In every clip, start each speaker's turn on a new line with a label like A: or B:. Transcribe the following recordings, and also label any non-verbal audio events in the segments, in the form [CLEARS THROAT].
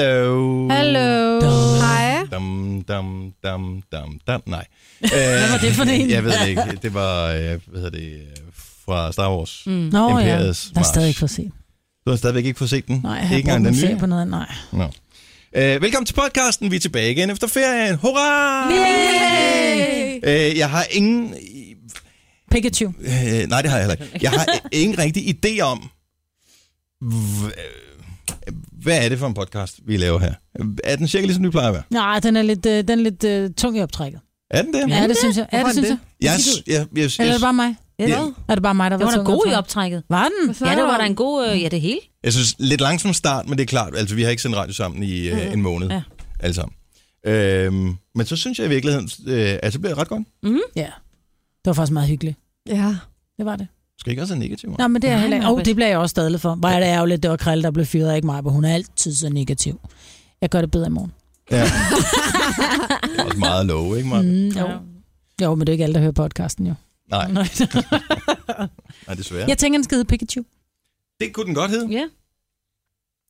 A: Hello.
B: Hallo. Hej.
A: Dam, dam, dam, dam, dam. Nej. Øh,
C: Hvad var det for en?
A: Jeg ved det ikke. Det var, øh, hvad hedder det, øh, fra Star Wars. Mm.
C: Nå ja,
A: Imperiets
C: der er
A: march.
C: stadig ikke for sent.
A: Du har stadigvæk ikke fået set den?
C: Nej, jeg
A: ikke
C: har ikke
A: engang
C: den
A: den
C: se
A: nye?
C: på noget. Nej.
A: Nå. Øh, velkommen til podcasten. Vi er tilbage igen efter ferien. Hurra!
C: Yay!
A: Øh, jeg har ingen...
C: Pikachu.
A: Øh, nej, det har jeg heller ikke. Jeg
C: [LAUGHS]
A: har ingen rigtig idé om, hv- øh, hvad er det for en podcast, vi laver her? Er den cirka ligesom du plejer at være?
C: Nej, den er lidt, øh, den er lidt øh, tung i optrækket.
A: Er den det?
C: Ja, det, synes jeg. Ja,
B: Hvorfor
C: det
B: er
C: synes
B: den
C: jeg.
A: Jeg, jeg, jeg, jeg,
C: Eller er det
A: jeg,
C: bare mig?
A: jeg,
C: Er det bare mig, der
D: Det
C: var,
D: var da
C: tung
D: god i
C: optrækket?
D: optrækket.
C: Var den?
D: Ja, det var da en god... Øh, ja, det [LAUGHS] hele.
A: jeg synes, lidt langsom start, men det er klart. Altså, vi har ikke sendt radio sammen i øh, en måned.
C: Mm-hmm. Ja.
A: Alle sammen. Øhm, men så synes jeg i virkeligheden, øh, at det bliver ret godt.
C: Ja. Det var faktisk meget hyggeligt.
B: Ja.
C: Det var det.
A: Skal ikke også have negativ?
C: Nå, men det er
D: Nej,
C: heller ikke.
D: men
C: Oh,
D: hvad-
C: det bliver jeg også stadig for. Hvor er det ærgerligt, det var Krille, der blev fyret, og ikke mig, hvor hun er altid så negativ. Jeg gør det bedre i morgen.
A: Ja. Det er også meget low, ikke, Mark? Mm.
C: Mm, jo. jo, men det er ikke alle, der hører podcasten, jo.
A: Nej,
C: Nej. [LAUGHS]
A: nej, desværre.
C: jeg tænker, den skal hedde Pikachu.
A: Det kunne den godt hedde.
D: Ja.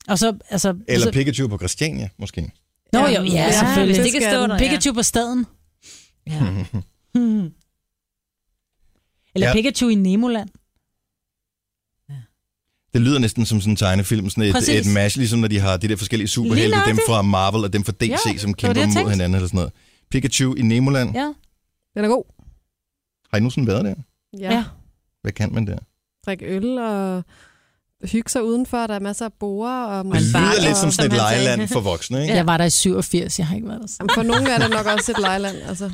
C: Og så, altså...
A: Eller
C: så,
A: Pikachu på Christiania, måske.
C: Nå, jo, ja,
B: Ja,
C: selvfølgelig.
D: Hvis
B: det
D: det kan
B: skal
D: stå
B: den.
D: der, ja.
C: Pikachu på staden.
D: ja.
A: Mhm.
C: [LAUGHS] Hmm. Eller
A: Ja.
C: ja. Pikachu i Nemoland.
A: [LAUGHS] Det lyder næsten som sådan en tegnefilm, sådan et,
C: Præcis.
A: et match, ligesom når de har de der forskellige superhelte, dem
C: nøjagtigt.
A: fra Marvel og dem fra DC, ja,
C: Ja,
A: som
C: var det,
A: kæmper
C: jeg
A: mod
C: tænkte.
A: hinanden eller sådan noget. Pikachu i Nemoland. Ja.
C: Ja.
B: Den er god.
A: Har I nogensinde været der?
B: Ja. ja.
C: Ja.
A: Hvad kan man der?
B: Drik øl og hygge sig udenfor. Der er masser af borer. Og
A: Det
B: musik
A: lyder
D: bare-
A: lidt som sådan et
D: som han sagde.
A: lejeland for voksne, ikke?
C: Jeg var der i 87, jeg har ikke været der.
B: Jamen, for nogen er det nok også et lejland. Altså.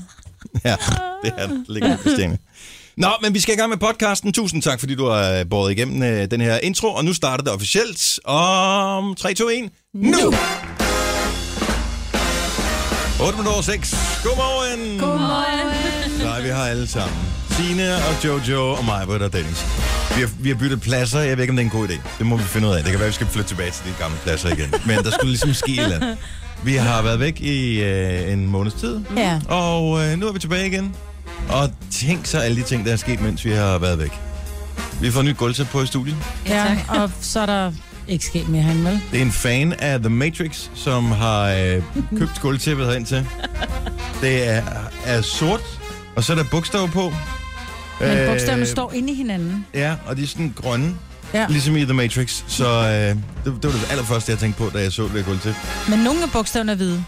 A: Ja, [LAUGHS] det er det. ligger på Christiania. Nå, men vi skal i gang med podcasten. Tusind tak, fordi du har båret igennem øh, den her intro, og nu starter det officielt om 3, 2, 1. Nu! 8 minutter over 6. Godmorgen! Nej, vi har alle sammen. Sine og Jojo og mig, og Dennis. Vi har, vi har byttet pladser. Jeg ved ikke, om det er en god idé. Det må vi finde ud af. Det kan være, vi skal flytte tilbage til de gamle pladser igen. Men der skulle ligesom ske et eller andet. Vi har været væk i øh, en måneds tid.
C: Ja.
A: Og øh, nu er vi tilbage igen. Og tænk så alle de ting, der er sket, mens vi har været væk. Vi får nyt gulvtæt på i studiet.
C: ja, og så er der ikke sket mere herinde, vel?
A: Det er en fan af The Matrix, som har øh, købt gulvtæppet herind til. Det er, er sort, og så er der bogstaver på. Øh,
C: Men bogstaverne står inde i hinanden.
A: Ja, og de er sådan grønne,
C: Ja.
A: ligesom i The Matrix. Så øh, det, det var det allerførste, jeg tænkte på, da jeg så det her gulvtæppe.
C: Men nogle af bogstaverne er hvide.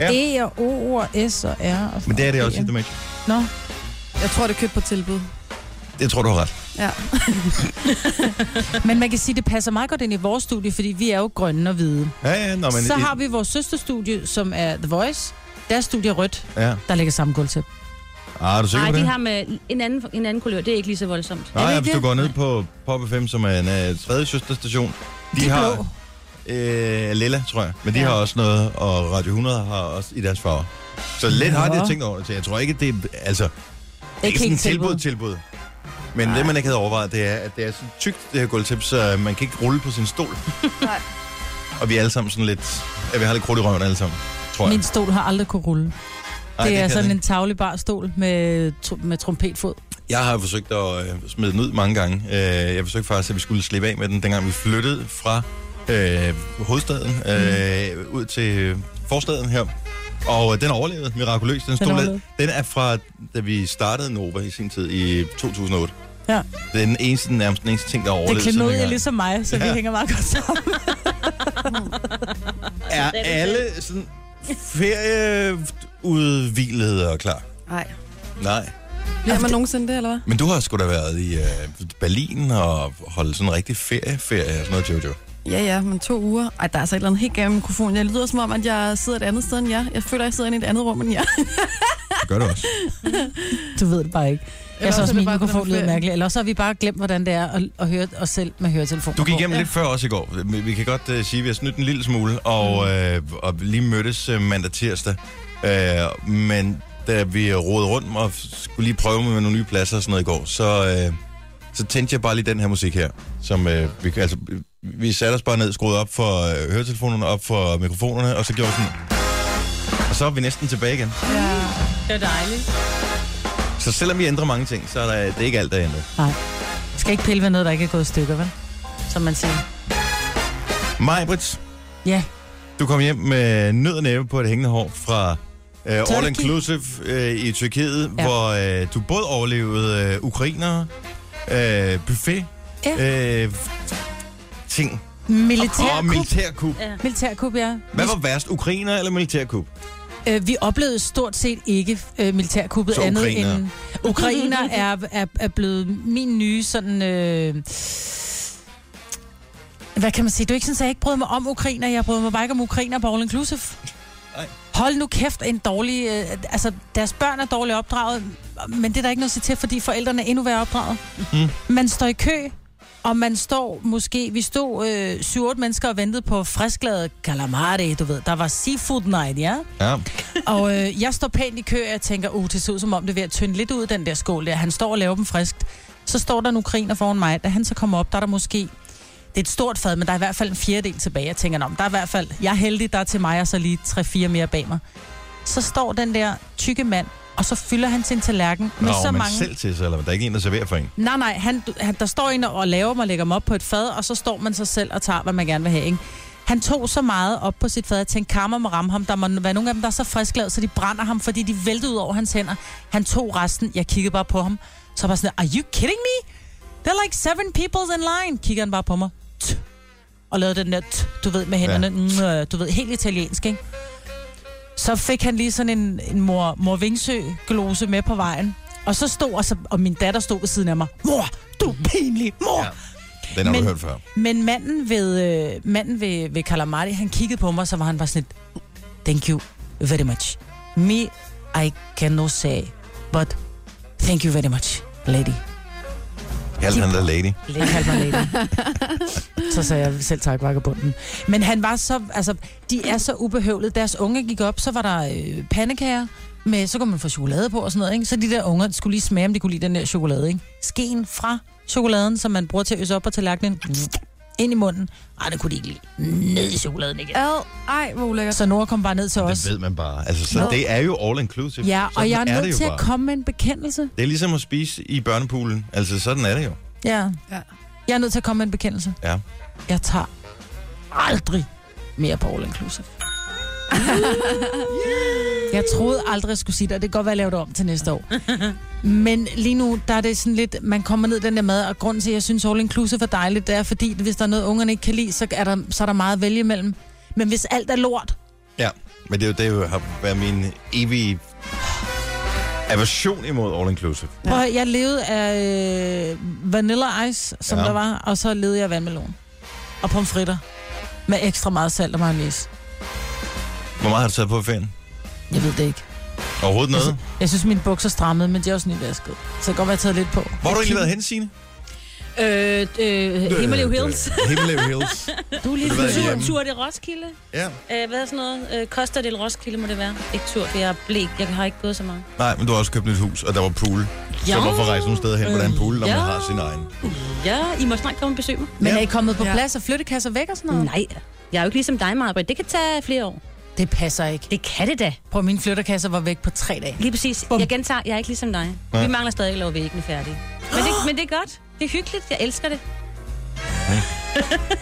A: Ja.
C: E og O og S og R. Og
A: Men det er det også i
C: D'er.
A: The Matrix.
C: Nå,
B: Jeg tror, det er købt på tilbud.
A: Jeg tror, du har ret.
B: Ja.
C: men man kan sige, det passer meget godt ind i vores studie, fordi vi er jo grønne og hvide.
A: Ja, ja, nå, men...
C: så har vi vores søsterstudie, som er The Voice. Deres studie er rødt,
A: Ja.
C: der ligger samme gulvtæppe.
A: Ah, er du sikker
D: Nej,
A: på
D: de
A: det?
D: har med en anden, en anden kulør. Det er ikke lige så voldsomt.
A: Nej, ja,
C: ikke
A: hvis du
C: det?
A: går ned på Pop FM, som er en øh, tredje søsterstation, de,
C: De er
A: har
C: blå.
A: øh, lilla, tror jeg, men de ja.
C: Ja.
A: har også noget, og Radio 100 har også i deres farver. Så lidt har de
C: Nå.
A: tænkt over det til. Jeg tror ikke, det er, altså, det er ikke
C: Ikke
A: sådan et
C: helt tilbud.
A: tilbud-tilbud. Men det, man ikke havde overvejet, det er, at det er så tykt, det her gulvtæppe, så man kan ikke rulle på sin
C: [LAUGHS]
A: stol.
B: Nej.
A: og vi er alle sammen sådan lidt... Ja, vi har lidt krudt i røven alle sammen, tror jeg.
C: Min stol har aldrig kunne rulle.
A: Ej,
C: det, det er
A: kan
C: sådan
A: den
C: en tavlebar stol med, tr- med trompetfod.
A: Jeg har jo forsøgt at øh, smide den ud mange gange. Øh, jeg forsøgte faktisk, at vi skulle slippe af med den, dengang vi flyttede fra øh, hovedstaden øh, ud til forstaden her. Og øh, den overlevede mirakuløst. Den, stod den,
C: overlevede.
A: den er fra, da vi startede Nova i sin tid i 2008.
C: Ja.
A: Det er den eneste, nærmest den eneste ting, der
C: Det
A: overlevede.
C: klemmer ud
A: siden
C: er
A: dengang.
C: ligesom mig, så ja. vi
A: Ja.
C: hænger meget godt sammen.
A: Er alle sådan ferieudvilede og klar?
B: Nej.
A: Nej.
B: Bliver man nogensinde det, eller hvad?
A: Men du har sgu da været i øh, Berlin og holdt sådan en rigtig ferie-ferie og sådan noget, Jojo.
B: Ja, ja, men to uger. Ej, der er altså et eller andet helt gammelt mikrofon. Jeg lyder som om, at jeg sidder et andet sted end jer. Jeg føler, at jeg sidder inde i et andet rum end jer.
A: Det gør du også.
C: Du ved det bare ikke. Jeg
B: også
C: så
B: er
C: også,
B: det
C: min
B: bare på
C: mikrofon
B: den
C: lyder
B: ferie.
C: mærkeligt. Eller så har vi bare glemt, hvordan det er at, at høre os selv med høretelefoner
A: Du gik
C: på.
A: igennem lidt før også i går. Vi- Vi kan godt uh, sige, at vi har snydt en lille smule, og, uh, og lige mødtes uh, mandag tirsdag. Uh, men da vi rodede rundt og skulle lige prøve med nogle nye pladser og sådan noget i går, så, uh, så tændte jeg bare lige den her musik her. Som, uh, vi, kan- altså, vi satte os bare ned, skruede op for uh, høretelefonerne, op for mikrofonerne, og så gjorde vi sådan... Og så er vi næsten tilbage igen.
C: Det er dejligt.
A: Så selvom vi ændrer mange ting, så er der, det er ikke alt, der er ændret.
C: Nej. Jeg skal ikke pille ved noget, der ikke er gået i stykker, vel? Som man siger.
A: Majbrits,
C: Ja.
A: Du kom hjem med nød og næppe på et hængende hår fra øh, All
C: Turkey.
A: Inclusive øh, i Tyrkiet, ja.
C: Ja.
A: hvor øh, du både overlevede øh, ukrainere, øh, buffet, ja. øh, ting og
C: Militærkup.
A: militærkup.
D: Ja.
C: Militærkup, ja.
A: Hvad var værst, ukrainer eller militærkup?
C: Øh, vi oplevede stort set ikke øh, militærkuppet
A: Så
C: andet
A: ukrainere.
C: end... Ukrainer er, er, er blevet min nye sådan... Øh, hvad kan man sige? Det er jo ikke sådan, at jeg ikke brød mig om ukrainer. Jeg brød mig bare ikke om ukrainer på All Inclusive.
A: Nej.
C: Hold nu kæft, en dårlig... Øh, altså, deres børn er dårligt opdraget, men det er der ikke noget at sige til, fordi forældrene er endnu værre opdraget.
A: Mhm.
C: Mm. Man står i kø, og man står måske... Vi stod øh, 7-8 mennesker og ventede på frisklavet calamari, du ved. Der var seafood night, ja?
A: Ja.
C: Og øh, jeg står pænt i kø, og jeg tænker, uh, det ser ud som om, det er ved at tynde lidt ud, den der skål der. Han står og laver dem friskt. Så står der en ukrainer foran mig. Da han så kommer op, der er der måske... Det er et stort fad, men der er i hvert fald en fjerdedel tilbage. Jeg tænker, "Nå, men der er i hvert fald... Jeg er heldig, der er til mig, og så lige 3-4 mere bag mig. Så står den der tykke mand, og så fylder han sin tallerken med
A: Nå,
C: så
A: man
C: mange...
A: selv til sig, eller hvad? Der er ikke en, der serverer for en.
C: Nej, nej, han, du- han, der står en og laver dem og lægger dem op på et fad, og så står man sig selv og tager, hvad man gerne vil have, ikke? Han tog så meget op på sit fad, jeg tænkte, karma må ramme ham. Der må være nogle af dem, der er så frisklavet, så de brænder ham, fordi de væltede ud over hans hænder. Han tog resten, jeg kiggede bare på ham. Så var jeg sådan, are you kidding me? There are like seven people in line. Kigger han bare på mig. T. Og lavede den der, t, du ved, med hænderne. Ja. Mm, øh, du ved, helt italiensk, ikke? Så fik han lige sådan en, en mor, mor Vingsø-glose med på vejen. Og så stod, og, så, og min datter stod ved siden af mig. Mor, du er pinlig, mor!
A: Ja. Den har Men...
C: Men-
A: du hørt før.
C: Men manden ved, øh, manden ved, ved Calamari, han kiggede på mig, så var han bare sådan lidt, thank you very much. Me, I cannot say, but thank you very much, lady.
A: Kald han der lady.
C: Han kaldte mig lady. så sagde jeg selv tak, vagabunden. Men han var så, altså, de er så ubehøvlet. Deres unge gik op, så var der øh, pandekager, med, så kunne man få chokolade på og sådan noget, ikke? Så de der unger de skulle lige smage, om de kunne lide den der chokolade, ikke? Skeen fra chokoladen, som man bruger til at øse op på tallerkenen, ind i munden. Ej, det kunne de ikke lide. Ned i chokoladen igen.
B: Ad, ej, hvor ulækkert.
C: Så Nora kom bare ned til
A: Det
C: os.
A: ved man bare. Altså, så
B: Nå.
A: det er jo all inclusive.
C: Ja, og
A: Sådan
C: jeg
A: er
C: er
A: det
C: nødt
A: jo
C: til at
A: bare.
C: komme med en bekendelse.
A: Det er ligesom at spise i børnepoolen. Altså, sådan er det jo.
C: Ja.
B: Ja.
C: Jeg er nødt til at komme med en bekendelse.
A: Ja.
C: Jeg tager aldrig mere på
B: [LAUGHS]
C: All Inclusive. jeg troede aldrig, jeg skulle sige det, og det kan godt være, at jeg laver det om til næste år. Men lige nu, der er det sådan lidt, man kommer ned i den der mad, og grunden til, at jeg synes All Inclusive er dejligt, det er, fordi hvis der er noget, ungerne ikke kan lide, så er der, så er der meget at vælge imellem. Men hvis alt er lort,
A: Ja, men det er jo det, der har været min evige aversion imod all inclusive.
B: Ja.
C: prøv at høre, jeg levede af øh, vanilla ice, som
A: Ja.
C: ja. der var, og så levede jeg af vandmelon. Og pomfritter. Med ekstra meget salt og mayonnaise.
A: Hvor meget har du taget på i ferien?
C: Jeg ved det ikke.
A: Overhovedet noget?
C: Altså, Jeg synes, mine bukser strammede, men de er også nyvasket. Så det kan godt være, jeg har taget lidt på.
A: Hvor har du egentlig været hen, Signe?
D: Øh, øh, Himmeløv Hills.
A: Himmelev Hills.
C: Du er lige
A: Ved du hvad,
C: fuld.
A: ja.
D: Tur,
A: Hjemme.
D: tur det Roskilde.
A: [LAUGHS] Ja.
D: Øh, hvad er sådan noget? Øh, Costa del Roskilde må det være. Ikke tur, for jeg er blæk. Jeg har ikke gået så meget.
A: Nej, men du har også købt et hus, og der var pool. Så
D: Ja.
A: hvorfor rejse nogle steder hen, hvor der er en pool, når
D: Ja.
A: man har sin egen?
D: Ja, I må snart komme og besøge mig.
C: Men er I kommet på
B: Ja.
C: plads og flyttekasser væk og sådan noget?
D: Nej, jeg er jo ikke ligesom dig, Marbrit. Det kan tage flere år.
C: Det passer ikke.
D: Det kan det da.
C: På min flyttekasser var væk på tre dage.
D: Lige præcis.
C: Bum.
D: Jeg gentager, jeg er ikke ligesom dig.
A: Nej.
D: Vi mangler stadig at lave væggene færdige. Men det, men det er godt. Det er hyggeligt. Jeg elsker det. [LAUGHS]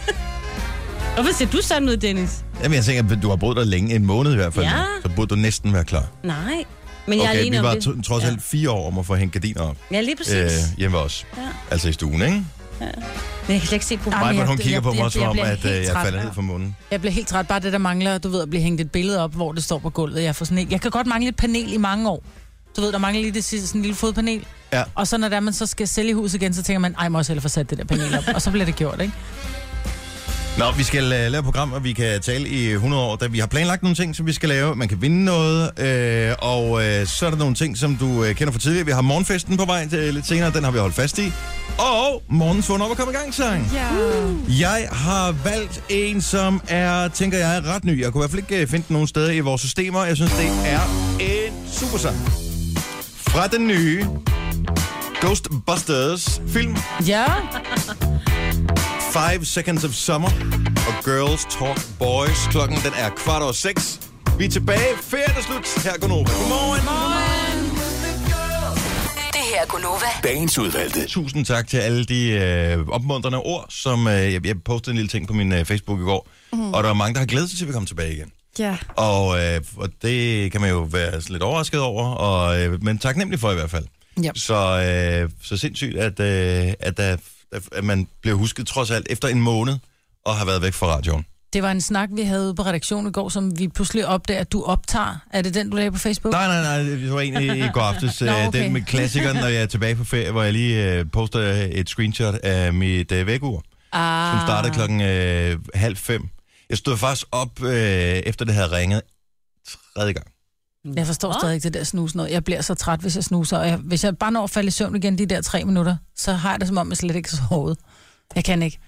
D: Hvorfor ser du sådan ud, Dennis?
A: Jamen, jeg tænker, at du har boet der længe, en måned i hvert fald.
D: Ja.
A: Så burde du næsten være klar.
D: Nej. Men jeg er
A: Okay,
D: alene
A: vi
D: om
A: var
D: det.
A: to- trods alt fire år om at få hængt gardiner op
D: Ja, lige præcis.
A: øh,
D: Øh.
A: hjemme hos os.
D: Ja.
A: Altså i stuen, ikke?
D: Jeg kan slet ikke se på
C: Ej,
A: Maja,
C: men
A: hvor
C: jeg-
A: hun
C: jeg-
A: kigger på
C: jeg-
A: mig, som
C: jeg
A: om
C: bliver
A: at
C: helt
A: øh, jeg
C: træt
A: falder
C: af-
A: ned fra munden.
C: Jeg blev helt træt. Bare det, der mangler, du ved, at blive hængt et billede op, hvor det står på gulvet. Jeg, får sådan et, jeg kan godt mangle et panel i mange år. Du ved, der mangler lige det sidste, sådan en lille fodpanel.
A: Ja.
C: Og så når der, man så skal sælge huset igen, så tænker man, ej, jeg må også hellere få sat det der panel op. og så bliver det gjort, ikke?
A: Nå, vi skal uh, lave et program, og vi kan tale i 100 år, da vi har planlagt nogle ting, som vi skal lave. Man kan vinde noget, øh, og øh, så er der nogle ting, som du øh, kender fra tidligere. Vi har morgenfesten på vej til, lidt senere, den har vi holdt fast i. Og morgens vund op og komme i gang sang.
B: Ja.
A: Jeg har valgt en, som er, tænker jeg, er ret ny. Jeg kunne i hvert fald ikke øh, finde den nogen steder i vores systemer. Jeg synes, det er en super sang. Fra den nye Ghostbusters film
C: Ja.
A: 5 Seconds of Summer og Girls Talk Boys. Klokken den er kvart over seks. Vi er tilbage. Ferien er slut. Her går Nova. Godmorgen.
E: Det her her er Gunova.
F: Dagens udvalgte.
A: Tusind tak til alle de øh, opmuntrende ord, som øh, jeg, jeg postede en lille ting på min øh, Facebook i går.
E: Mhm.
A: Mm. Og der er mange, der har glædet sig til, at vi kommer tilbage igen.
B: Ja.
A: Og, øh, og det kan man jo være lidt overrasket over, og, øh, men taknemmelig for i hvert fald.
C: Ja.
A: Så, øh, så sindssygt, at, øh, at, der, at man bliver husket trods alt efter en måned og har været væk fra radioen.
C: Det var en snak, vi havde ude på redaktionen i går, som vi pludselig opdager, at du optager. Er det den, du lagde på Facebook?
A: Nej, nej, nej, det var egentlig i går aftes.
C: Nå,
A: øh,
C: okay.
A: Den med klassikeren, når jeg er tilbage på ferie, hvor jeg lige øh, poster et screenshot af mit øh, vækkeur.
C: Ah,
A: som startede klokken øh, halv fem. Jeg stod faktisk op, øh, efter det havde ringet tredje gang.
C: Jeg forstår stadig ikke det der snus noget. Jeg bliver så træt, hvis jeg snuser. Og jeg, hvis jeg bare når at falde i søvn igen de der tre minutter, så har jeg det som om, jeg slet ikke har sovet. Jeg kan ikke.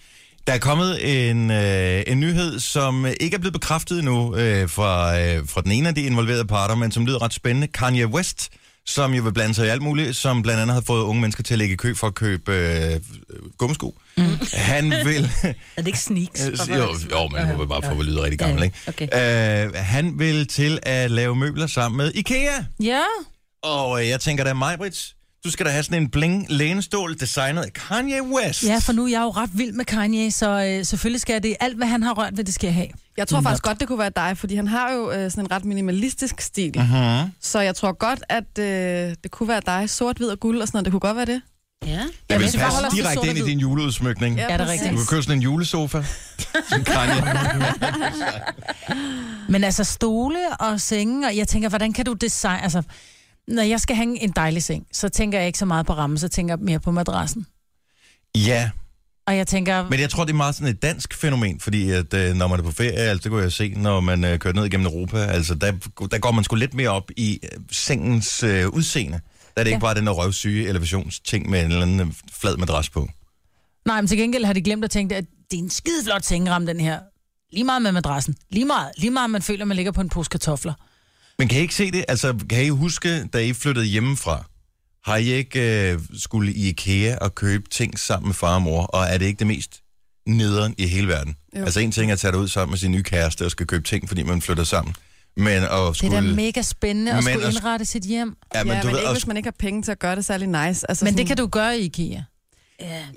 A: Der er kommet en, øh, en nyhed, som ikke er blevet bekræftet endnu øh, fra, øh, fra den ene af de involverede parter, men som lyder ret spændende. Kanye West, som jo vil blande sig i alt muligt, som blandt andet har fået unge mennesker til at ligge i kø for at købe øh, gummesko. Mm.
C: [LAUGHS]
A: Han vil...
D: Er det ikke sneaks?
A: Øh, Jo, jo, men jeg må bare få, at lyde rigtig gammel,
D: Ja,
A: ikke?
D: okay.
A: Øh, han vil til at lave møbler sammen med IKEA.
C: Ja,
A: Og øh, jeg tænker da, Majbrits, du skal da have sådan en bling lænestol designet af Kanye West.
C: ja, for nu er jeg jo ret vild med Kanye, så øh, selvfølgelig skal jeg det. Alt, hvad han har rørt ved, det skal jeg have.
B: Jeg tror faktisk godt, det kunne være dig, fordi han har jo øh, sådan en ret minimalistisk stil.
A: Uh-huh.
B: Så jeg tror godt, at øh, det kunne være dig. Sort, hvid og guld og sådan noget. Det kunne godt være det.
D: Ja.
A: Det
C: hvis
A: vil
C: vi bare holder
A: passe
C: os til sort
A: direkte
C: og
A: ind i
C: hvid.
A: din juleudsmykning.
C: Ja, det er
B: præcis.
A: Du
C: rigtigt.
A: kan købe sådan en julesofa. Som Kanye.
C: Men altså stole og senge, og jeg tænker, hvordan kan du designe... Altså, når jeg skal hænge en dejlig seng, så tænker jeg ikke så meget på rammen, så tænker jeg mere på madrassen.
A: ja,
C: Og jeg tænker,
A: men jeg tror, det er meget sådan et dansk fænomen, fordi at, øh, når man er på ferie, altså, det kunne jeg se, når man øh, kører ned igennem Europa, altså, der, der går man sgu lidt mere op i øh, sengens øh, udseende. Der er det ikke
C: Ja.
A: bare den der røvsyge elevationsting med en eller anden øh, flad madras på.
C: nej, men til gengæld har de glemt at tænke, at det er en skideflot sengeramme, den her. Lige meget med madrassen. Lige meget. Lige meget, man føler, man ligger på en pose kartofler.
A: Men kan I ikke se det? Altså, kan I huske, da I flyttede hjemmefra, har I ikke øh, skulle i IKEA og købe ting sammen med far og mor, og er det ikke det mest nederen i hele verden? Jo.
B: Jo.
A: Altså, en ting er at tage det ud sammen med sin nye kæreste og skal købe ting, fordi man flytter sammen. Men at
C: Det er
A: skulle...
C: da mega spændende at
A: Men
C: skulle
A: at-
C: indrette sit hjem.
A: ja, men,
B: ja,
A: du
B: men
A: ved,
B: ikke,
A: at
B: hvis man ikke har penge til at gøre det særlig nice. Altså
C: Men
B: sådan,
C: det kan du gøre i IKEA.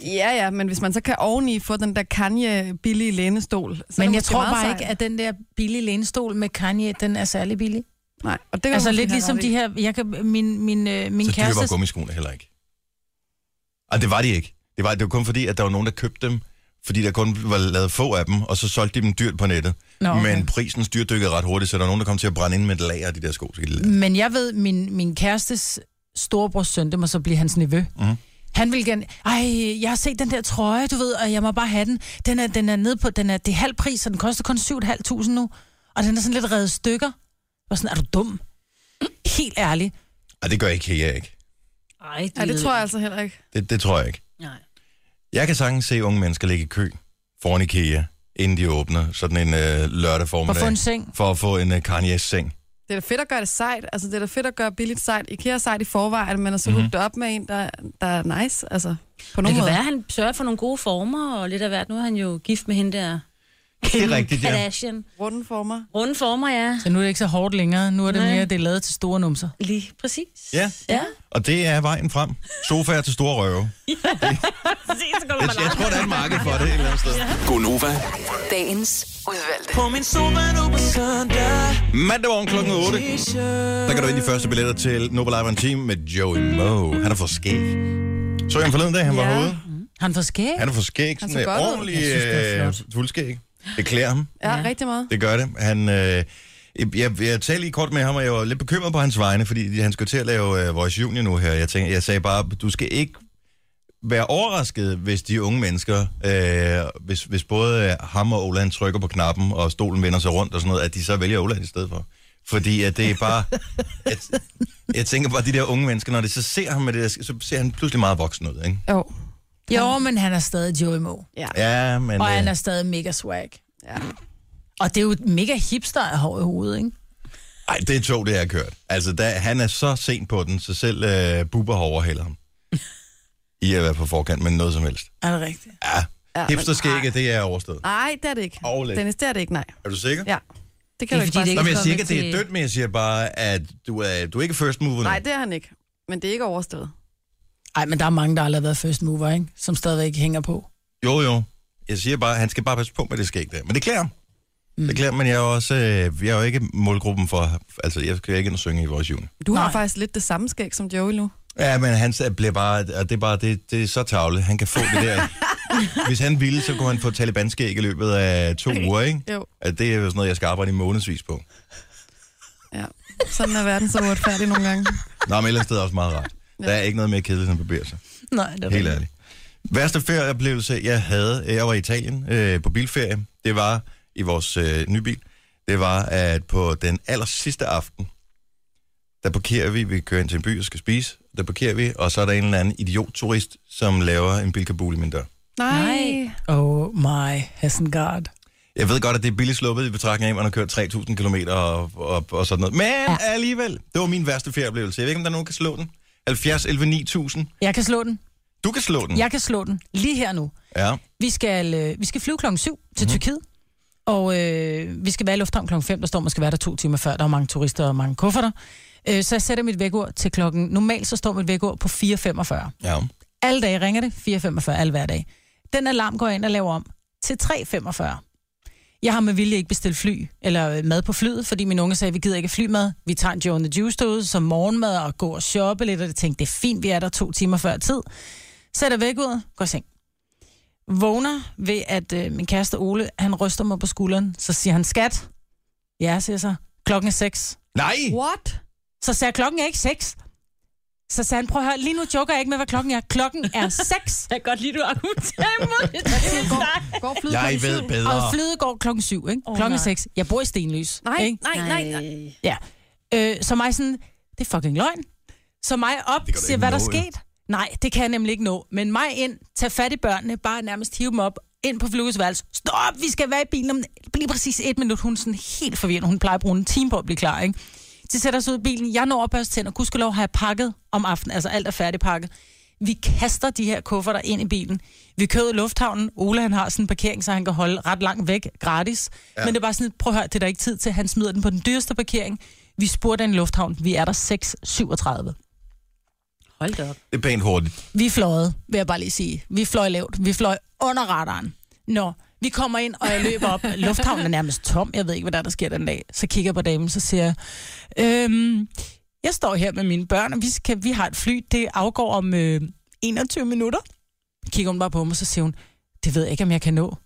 B: Ja, ja, men hvis man så kan oveni få den der Kanye billige lænestol. Så er det
C: Men jeg
B: måske
C: tror
B: meget
C: bare
B: sejt.
C: ikke, at den der billige lænestol med Kanye, den er særlig billig.
B: Nej, og det kan
C: Altså
B: du måske
C: lidt
B: have
C: ligesom
B: ret i.
C: de her... Jeg kan, min min, øh, min
A: så dyre var
C: kæreste...
A: gummiskoene heller ikke. Og det var de ikke. Det var, det var kun fordi, at der var nogen, der købte dem, fordi der kun var lavet få af dem, og så solgte de dem dyrt på nettet.
C: Nå,
A: Okay. Men prisen styrdykkede ret hurtigt, så der var nogen, der kom til at brænde ind med et lager af de der sko. Så de
C: Men jeg ved, min, min kærestes storebrors søn, det må så blive hans nevø. Mm.
A: Mhm.
C: Han vil gerne, ej, jeg har set den der trøje, du ved, og jeg må bare have den. Den er, den er nede på, den er, det er halv pris, så den koster kun 7.500 nu. Og den er sådan lidt reddet i stykker. Og sådan, er du dum? Helt ærlig.
A: Ej, det gør IKEA ikke.
D: Ej,
B: Ja, det tror jeg altså heller ikke.
A: Det, det tror jeg ikke.
D: Nej.
A: Jeg kan sagtens se unge mennesker ligge i kø foran IKEA, inden de åbner sådan en øh, lørdag
C: Og
A: formiddag.
C: få en seng.
A: For at få en øh, Kanye-seng.
B: Det er da fedt at gøre det sejt. Altså, det er da fedt at gøre billigt sejt. IKEA er sejt i forvejen, men at
C: Mhm.
B: så mm-hmm. hooket op med en, der, der er nice. Altså, på
D: Det
B: nogen
D: kan
B: måde.
D: være, at han sørger for nogle gode former og lidt af hvert. Nu er han jo gift med hende der.
A: Det er rigtigt, ja.
D: Kardashian.
B: Runde former.
D: Runde former, ja.
C: Så nu er det ikke så hårdt længere. Nu er det
D: Nej.
C: mere, det er lavet til store numser.
D: Lige præcis.
A: Ja.
D: Ja,
A: Og det er vejen frem. Sofaer til store røve.
D: præcis. Så går
A: Jeg, jeg tror, der er et marked for det et eller andet sted.
F: Gonova.
E: Dagens udvalgte.
A: Mandag morgen klokken 8. Der kan du vinde de første billetter til Nobel Live on Team med Joey Moe. Han er for skæg. Så jeg ham forleden dag, han var
B: Ja.
A: herude.
C: Han får skæg.
A: Han er for skæg.
B: Han
A: Sådan
B: ser
A: en
B: godt ud.
A: ordentlig
C: Jeg synes, det er
A: øh,
C: flot.
A: fuldskæg. Det klæder ham.
B: Ja, ja. rigtig meget.
A: Det gør det. Han, øh, jeg, jeg talte lige kort med ham, og jeg var lidt bekymret på hans vegne, fordi han skulle til at lave øh, Voice Junior nu her. Jeg, tænkte, jeg sagde bare, du skal ikke være overrasket, hvis de unge mennesker, øh, hvis, hvis både øh, ham og Ola han trykker på knappen, og stolen vender sig rundt og sådan noget, at de så vælger Ola i stedet for. Fordi at det er bare... At, jeg tænker bare, at de der unge mennesker, når de så ser ham med det der, så ser han pludselig meget voksen ud, ikke?
B: Jo.
C: Jo, men han er stadig Joey Moe.
B: Ja. ja.
A: Ja, men...
C: Og han
A: øh,
C: er stadig mega swag.
B: ja.
C: Og det er jo et mega hipster af hår i hovedet, ikke?
A: Ej, det tog, det er kørt. Altså, da, han er så sent på den, så selv øh, Bubber har overhældet ham. I at være på forkant med noget som helst.
C: Er det rigtigt?
A: Ja,
B: Ja,
A: ja hipsterskægget, det er overstået.
B: Nej, det er det ikke.
A: Overlæg.
B: Dennis, det er det ikke, nej.
A: Er du sikker?
B: Ja. Det kan
D: er
B: du ikke
D: fordi,
A: Nå,
B: bare sige.
D: det
A: men jeg siger ikke, at
D: kommet
A: det er
D: til-
A: dødt, men jeg siger bare, at du er, du er ikke first mover nu.
B: Nej, det er han ikke. Men det er ikke overstået.
F: Ej, men der er mange, der aldrig har været first mover, ikke? Som stadigvæk hænger på.
A: Jo, jo. Jeg siger bare, han skal bare passe på med det skæg der. Men det klæder ham. Mm. Det klæder ham, men jeg er jo også, øh, jeg er jo ikke målgruppen for, altså jeg skal ikke ind og synge i vores juni.
B: Du har
F: Nej.
B: faktisk lidt det samme skæg som Joey nu.
A: Ja, men han s- bliver bare, og det er bare, det, det er så tavle. Han kan få det der. Hvis han ville, så kunne han få talibanskæg i løbet af to uger, ikke?
B: Jo,
A: At det er jo sådan noget, jeg skal arbejde i månedsvis på.
B: ja. Sådan er verden så uretfærdig nogle gange.
A: Nå, men ellers det er det også meget rart. Der er ikke noget mere kedeligt, end at barbere sig.
C: Nej, det er
A: Helt ærligt. Værste ferieoplevelse, jeg havde, øh, jeg var i Italien øh, på bilferie, det var i vores øh, nye bil, det var, at på den aller sidste aften, der parkerer vi, vi kører ind til en by og skal spise, der parkerer vi, og så er der en eller anden idiot-turist, som laver en bilkabul i min dør.
B: Nej.
D: Nej.
F: Oh my Hessengard.
A: Jeg ved godt, at det er billigt sluppet i betragtning af, at man har kørt 3.000 km og, og, og sådan noget. Men ja. alligevel, det var min værste ferieoplevelse. Jeg ved ikke, om der er nogen, der kan slå den. 70, 11, 9000.
C: Jeg kan slå den.
A: Du kan slå den.
C: Jeg kan slå den. Lige her nu.
A: Ja.
C: Vi skal, øh, vi skal flyve klokken 7 til Tyrkiet. Og øh, vi skal være i lufthavn klokken 5, der står, man skal være der to timer før. Der er mange turister og mange kufferter. Øh, så jeg sætter mit vækord til klokken... Normalt så står mit vækord på 4.45.
A: ja.
C: Alle dage ringer det 4.45, alle hver dag. Den alarm går jeg ind og laver om til 3.45. Jeg har med vilje ikke bestilt fly eller øh, mad på flyet, fordi min unge sagde, vi gider ikke flymad. Vi tager en Joe and the Juice derude som morgenmad og går og shoppe lidt, og det tænkte, det er fint, vi er der to timer før tid. Sætter væk ud, går i seng. Vågner ved, at øh, min kæreste Ole, han ryster mig på skulderen, så siger han, skat. Ja, siger jeg så. Klokken er seks.
A: Nej!
B: What?
C: Så sagde jeg, klokken er ikke 6. Så sagde han, prøv at høre, lige nu joker jeg ikke med, hvad klokken er. Klokken er 6,
D: Jeg kan godt lide, du argumenterer imod det.
B: [LAUGHS] Går flyet
A: Jeg
B: klokken
A: ved
B: syv?
A: bedre.
C: og flyet går klokken 7, ikke? Oh, klokken
D: nej.
C: 6. Jeg bor i Stenløs.
B: Nej,
C: Ikke?
B: nej, nej, nej.
C: Ja. Øh, så mig sådan, det er fucking løgn. Så mig
A: Det
C: op,
A: kan du
C: siger,
A: ikke
C: hvad der
A: nå, jo.
C: skete. Nej, det kan jeg nemlig ikke nå. Men mig ind, tag fat i børnene, bare nærmest hive dem op, ind på flyvesværelse. Stop, vi skal være i bilen om lige præcis et minut. Hun er sådan helt forvirret. Hun plejer at bruge en time på at blive klar, ikke? De sætter sig ud i bilen. Jeg når op og tænder. Gudskelov har jeg pakket om aftenen. Altså alt er færdigpakket. Vi kaster de her kufferter ind i bilen. Vi kører ud i lufthavnen. Ole han har sådan en parkering, så han kan holde ret langt væk gratis. Ja. Men det er bare sådan, prøv at høre, det er der ikke tid til. Han smider den på den dyreste parkering. Vi spurgte en lufthavn. Vi er der 6.37.
D: Hold da op.
A: Det er pænt hurtigt.
C: Vi fløjede, vil jeg bare lige sige. Vi fløj lavt. Vi fløj under radaren. Nå, vi kommer ind, og jeg løber op. Lufthavnen er nærmest tom. Jeg ved ikke, hvad der, er, der sker den dag. Så kigger jeg på damen, så siger jeg, øhm, jeg står her med mine børn, og vi, skal, vi har et fly. Det afgår om øh, 21 minutter. Kigger hun bare på mig, så siger hun, det ved jeg ikke, om jeg kan nå.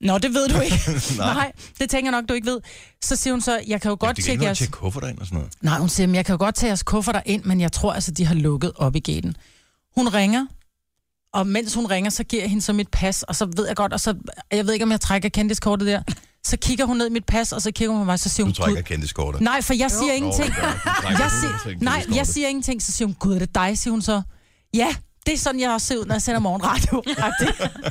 C: Nå, det ved du ikke.
A: [LAUGHS] Nej.
C: Nej, det tænker jeg nok, du ikke ved. Så siger hun så, jeg kan jo godt
A: det kan
C: tjekke
A: ikke nå at
C: jeres...
A: tjekke kufferter ind og sådan noget.
C: Nej, hun siger, "Men jeg kan jo godt tage jeres kufferter ind, men jeg tror altså, de har lukket op i gaten. Hun ringer, og mens hun ringer, så giver jeg hende så mit pas, og så ved jeg godt, og så, jeg ved ikke, om jeg trækker kendiskortet der, så kigger hun ned i mit pas, og så kigger hun på mig, så siger
A: Du
C: hun,
A: trækker
C: "Gud."
A: kendiskorter.
C: nej, for jeg siger ingenting. Jeg siger,
A: siger,
C: nej, jeg siger ingenting, så siger hun, gud, er det dig, siger hun så. Ja, det er sådan, jeg også ser ud, når jeg sender morgenradio. [LAUGHS]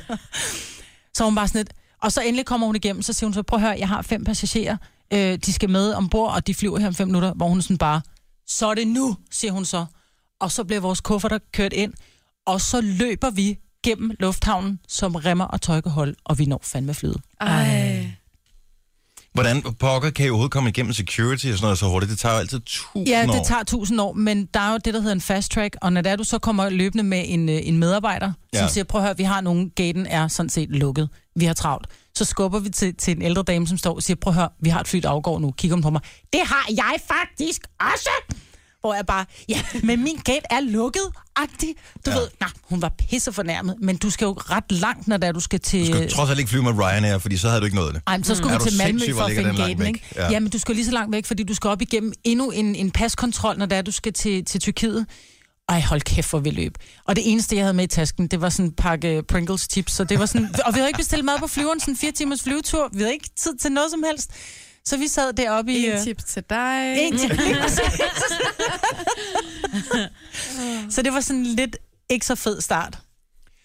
C: så hun bare sådan lidt, og så endelig kommer hun igennem, så siger hun så, prøv at høre, jeg har fem passagerer, øh, de skal med ombord, og de flyver her om fem minutter, hvor hun sådan bare, så er det nu, siger hun så. Og så bliver vores kufferter kørt ind, og så løber vi gennem lufthavnen, som remmer og tøj kan holde, og vi når fandme flyet.
B: Ej.
A: Hvordan pokker kan I overhovedet komme igennem security og sådan noget så hurtigt? Det tager jo altid tusind
C: Ja,
A: år.
C: det tager tusind år, men der er jo det, der hedder en fast track, og når det er, du så kommer løbende med en, øh, en medarbejder, ja.
A: Ja.
C: som siger, prøv at høre, vi har nogen, gaten er sådan set lukket, vi har travlt. Så skubber vi til, til en ældre dame, som står og siger, prøv at høre, vi har et flyt afgår nu, kigger hun på mig, det har jeg faktisk også! Hvor jeg bare, ja, men min gate er lukket, agtig. Du ja. ved, nej, hun var pisse fornærmet, men du skal jo ret langt, når det er, du skal til...
A: Du skal trods alt ikke flyve med Ryanair, fordi så havde du ikke nået det.
C: Ej, men så skulle
A: Er
C: mm.
A: du
C: vi til Malmø
A: sindssyg,
C: for
A: hvor
C: at
A: ligger
C: finde
A: den langt
C: gaten,
A: væk?
C: ikke?
A: Ja.
C: Ja. Jamen, du skal lige så langt væk, fordi du skal op igennem endnu en, en paskontrol, når det er, du skal til, til Tyrkiet. Ej, hold kæft, hvor vi løb. Og det eneste, jeg havde med i tasken, det var sådan en pakke Pringles chips, så det var sådan... Og vi havde ikke bestilt mad på flyveren, sådan en fire timers flyvetur. Vi havde ikke tid til noget som helst. Så vi sad deroppe i... øh,
B: En tips til dig.
C: en chip, lige præcis. så det var sådan lidt ikke så fed start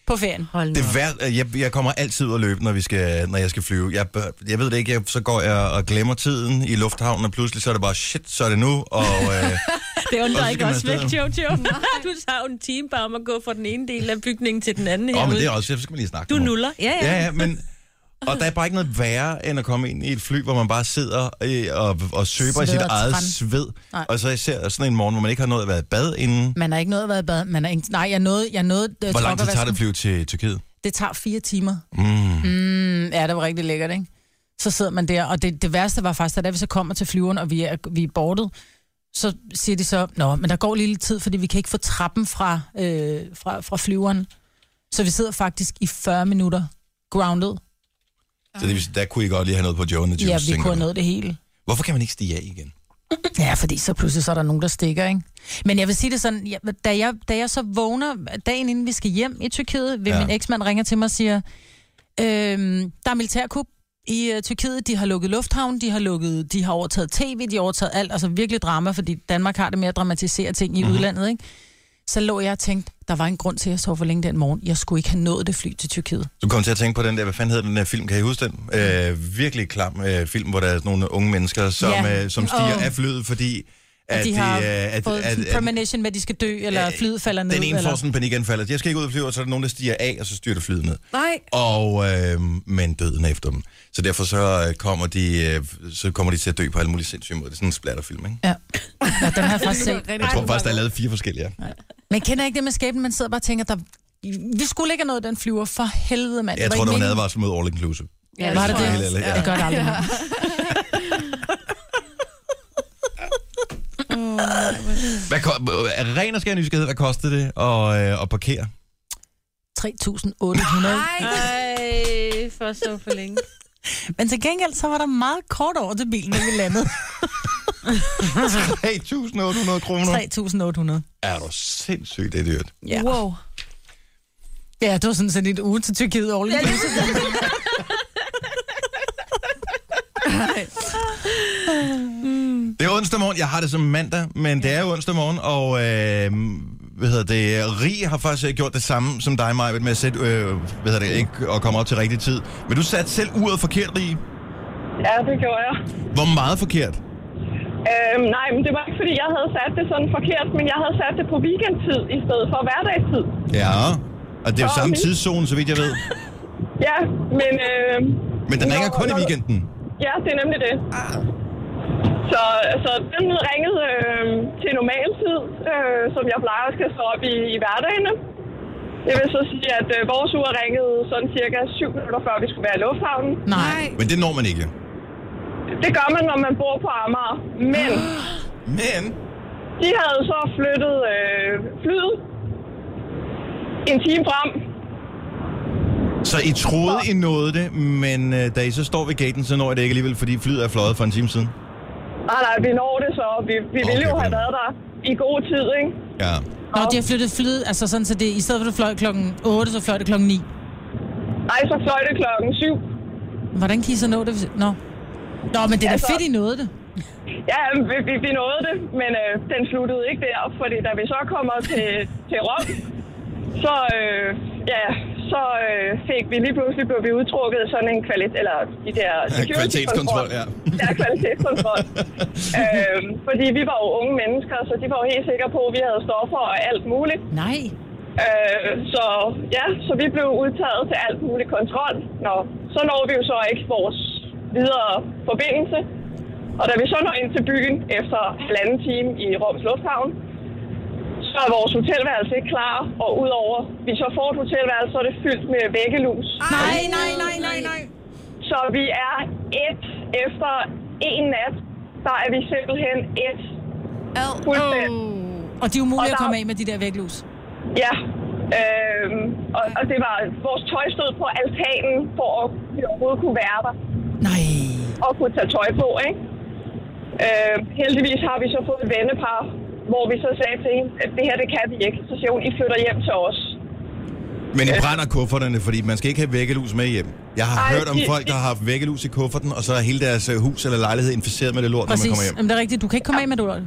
C: på ferien.
D: Hold nu
A: Det
D: op.
A: værd, øh, jeg, jeg kommer altid ud at løbe, når, vi skal, når jeg skal flyve. Jeg, bør- jeg ved det ikke, jeg, så går jeg og glemmer tiden i lufthavnen, og pludselig så er det bare, shit, så er det nu,
C: [LAUGHS]
A: og øh,
D: Det undrer
A: Og så
D: ikke
A: skal man
D: også væk,
A: afsted.
D: Jojo. [LAUGHS] Du tager jo en time bare om at gå fra den ene del af bygningen til den anden
A: åh, men
D: herude.
A: det er også, så skal man lige snakke
D: Du
A: med nogen.
D: nuller. Ja, ja.
A: Ja, ja, men... Og der er bare ikke noget værre, end at komme ind i et fly, hvor man bare sidder øh, og, og søber i sit
C: Sveder
A: eget
C: tran.
A: sved.
C: Nej.
A: Og så især sådan en morgen, hvor man ikke har nået at være i bad inden.
C: Man har ikke noget at være i bad. Man er ikke... Nej, jeg nåede... Jeg nåede øh,
A: Hvor lang tid tager det
C: trokkervasken.
A: at flyve til Tyrkiet?
C: Det tager fire timer.
A: Mm.
C: Mm, ja, det var rigtig lækkert, ikke? Så sidder man der, og det, det værste var faktisk, at da vi så kommer til flyveren, og vi er, vi er bordet, så siger de så, nå, men der går lige lidt tid, fordi vi kan ikke få trappen fra, øh, fra, fra flyveren. Så vi sidder faktisk i 40 minutter grounded.
A: Så det, vil sige, der kunne I godt lige have noget på Joe and the Juice,
C: Ja, vi
A: tænker
C: kunne have
A: du.
C: nået det hele.
A: Hvorfor kan man ikke stige af igen?
C: Ja, fordi så pludselig så er der nogen, der stikker, ikke? Men jeg vil sige det sådan, jeg, da, jeg, da jeg så vågner dagen inden vi skal hjem i Tyrkiet, vil
A: Ja.
C: ja. min eksmand ringer til mig og siger, øhm, der er militærkup i øh, Tyrkiet, de har lukket lufthavn, de har lukket, de har overtaget tv, de har overtaget alt, altså virkelig drama, fordi Danmark har det med at dramatisere ting i
A: Mhm.
C: mm-hmm. udlandet, ikke? Så lå jeg og tænkte, der var en grund til, at jeg sov for længe den morgen. Jeg skulle ikke have nået det fly til Tyrkiet.
A: Du kom til at tænke på den der, hvad fanden hedder den der film, kan I huske den? Øh, virkelig klam øh, film, hvor der er sådan nogle unge mennesker, som,
C: Ja.
A: øh, som stiger
C: Åh.
A: af flyet, fordi...
C: At, de har
A: øh,
C: at, fået at, premonition med, at de skal dø, eller
A: øh,
C: flyet falder ned.
A: Den ene
C: eller...
A: får sådan en panikanfald, at jeg skal ikke ud og flyve, og så er der nogen, der stiger af, og så styrer det flyet ned.
B: Nej.
A: Og, øh, men døden er efter dem. Så derfor så øh, kommer, de, øh, så kommer de til at dø på alle mulige sindssyge måder. Det er sådan en splatterfilm, ikke?
C: Ja. ja, den har jeg
A: [LAUGHS]
C: faktisk set.
A: Jeg tror faktisk, der er lavet fire forskellige. Ja.
C: Men kender ikke det med skæbnen, man sidder og bare og tænker, der, vi skulle ikke have nået den flyver, for helvede mand.
A: Jeg tror,
C: ikke
A: der var en
C: meningen.
A: advarsel mod All Inclusive.
B: Ja,
C: Var det
B: tror
C: det?
B: jeg
A: Helt
B: også.
A: ærligt,
C: Det gør det aldrig. mere.
A: Hvad, ko- øh, ren og skær nysgerrighed, hvad kostede det at, øh, at [LAUGHS] parkere?
C: 3.800.
D: Ej, for så for længe.
C: Men til gengæld, så var der meget kort over til bilen, da vi
A: [LAUGHS]
C: landede.
A: 3.800 kroner.
C: 3.800.
A: Er du sindssygt, det er dyrt.
C: Ja. Wow. Ja, det var sådan set et uge til Tyrkiet all inclusive.
A: Det er onsdag morgen. Jeg har det som mandag, men det er jo onsdag morgen, og øh, hvad hedder det, Rie har faktisk øh, gjort det samme som dig, Maja, med at sætte, øh, hvad hedder det, ikke at komme op til rigtig tid. Men du satte selv uret forkert, Rie.
G: Ja, det gjorde jeg.
A: Hvor meget forkert?
G: Øhm, nej, men det var ikke, fordi jeg havde sat det sådan forkert, men jeg havde sat det på weekendtid i stedet for hverdagstid.
A: Ja, og det er jo
G: Okay.
A: samme tidszone, så vidt jeg ved.
G: Ja, men... Øh,
A: Men den ringer
G: Nå,
A: kun i
G: nå.
A: weekenden.
G: Ja, det er nemlig det. Så, så den ringede øh, til normal tid, øh, som jeg plejer at skal stå op i, i hverdagene. Det vil så sige, at øh, vores ur ringede sådan cirka 7 minutter før vi skulle være i lufthavnen.
C: Nej.
A: Men det når man ikke.
G: Det gør man, når man bor på Amager. Men
A: Men...
G: de havde så flyttet øh, flyet en time frem.
A: Så I troede, I nåede det, men øh, da I så står ved gaten, så når I det ikke alligevel, fordi flyet er fløjet for en time siden.
G: Nej, nej, vi når det så. Vi, vi ville
A: Okay,
G: jo
A: på
G: have
A: den
G: været der i god tid, ikke?
A: Ja.
C: Nå, de har flyttet flyet, altså sådan, så det, i stedet for at det fløj klokken 8, så fløj det klokken 9.
G: Ej, så fløj det klokken syv.
C: Hvordan kan I så nå det? hvis- Nå. Nå, men det er da
G: Altså-
C: fedt, I nåede det.
G: Ja, vi, vi, vi nåede det, men øh, den sluttede ikke der, fordi da vi så kommer til, til Rom, så, øh, ja, så øh, fik vi lige pludselig blev vi udtrukket sådan en kvalitet, eller de der security-kontrol.
A: kvalitetskontrol, ja.
G: Ja, kvalitetskontrol. øhm, fordi vi var jo unge mennesker, så de var jo helt sikre på, at vi havde stoffer og alt muligt.
C: Nej.
G: Øh, så ja, så vi blev udtaget til alt mulig kontrol. Nå, så når vi jo så ikke vores videre forbindelse. Og da vi så når ind til byen efter halvanden time i Roms Lufthavn, så er vores hotelværelse ikke klar, og udover vi så får et hotelværelse, så er det fyldt med væggelus.
C: Nej, nej, nej, nej, nej.
G: Så vi er et efter en nat, der er vi simpelthen et
B: Ad.
G: fuldstændig.
C: Og de er umulige at
G: Øh. Og der-
C: komme af med de der væglus.
G: Ja. Øhm, og, og det var, vores tøj stod på altanen, for at vi overhovedet kunne være der
C: Nej.
G: og kunne tage tøj på, ikke? Øhm, heldigvis har vi så fået et vennepar, hvor vi så sagde til hende, at det her, det kan vi ikke. Så siger hun, I flytter hjem til os.
A: [LAUGHS] Men I brænder kufferterne, fordi man skal ikke have væggelus med hjem. Jeg har Ej,
G: Ej,
A: hørt om
G: det-
A: folk, der har haft væggelus i kufferten, og så er hele deres øh, hus eller lejlighed inficeret med det lort, når man
C: Præcis.
A: kommer hjem.
C: Jamen, det er rigtigt. Du kan ikke komme af med det, Lotte.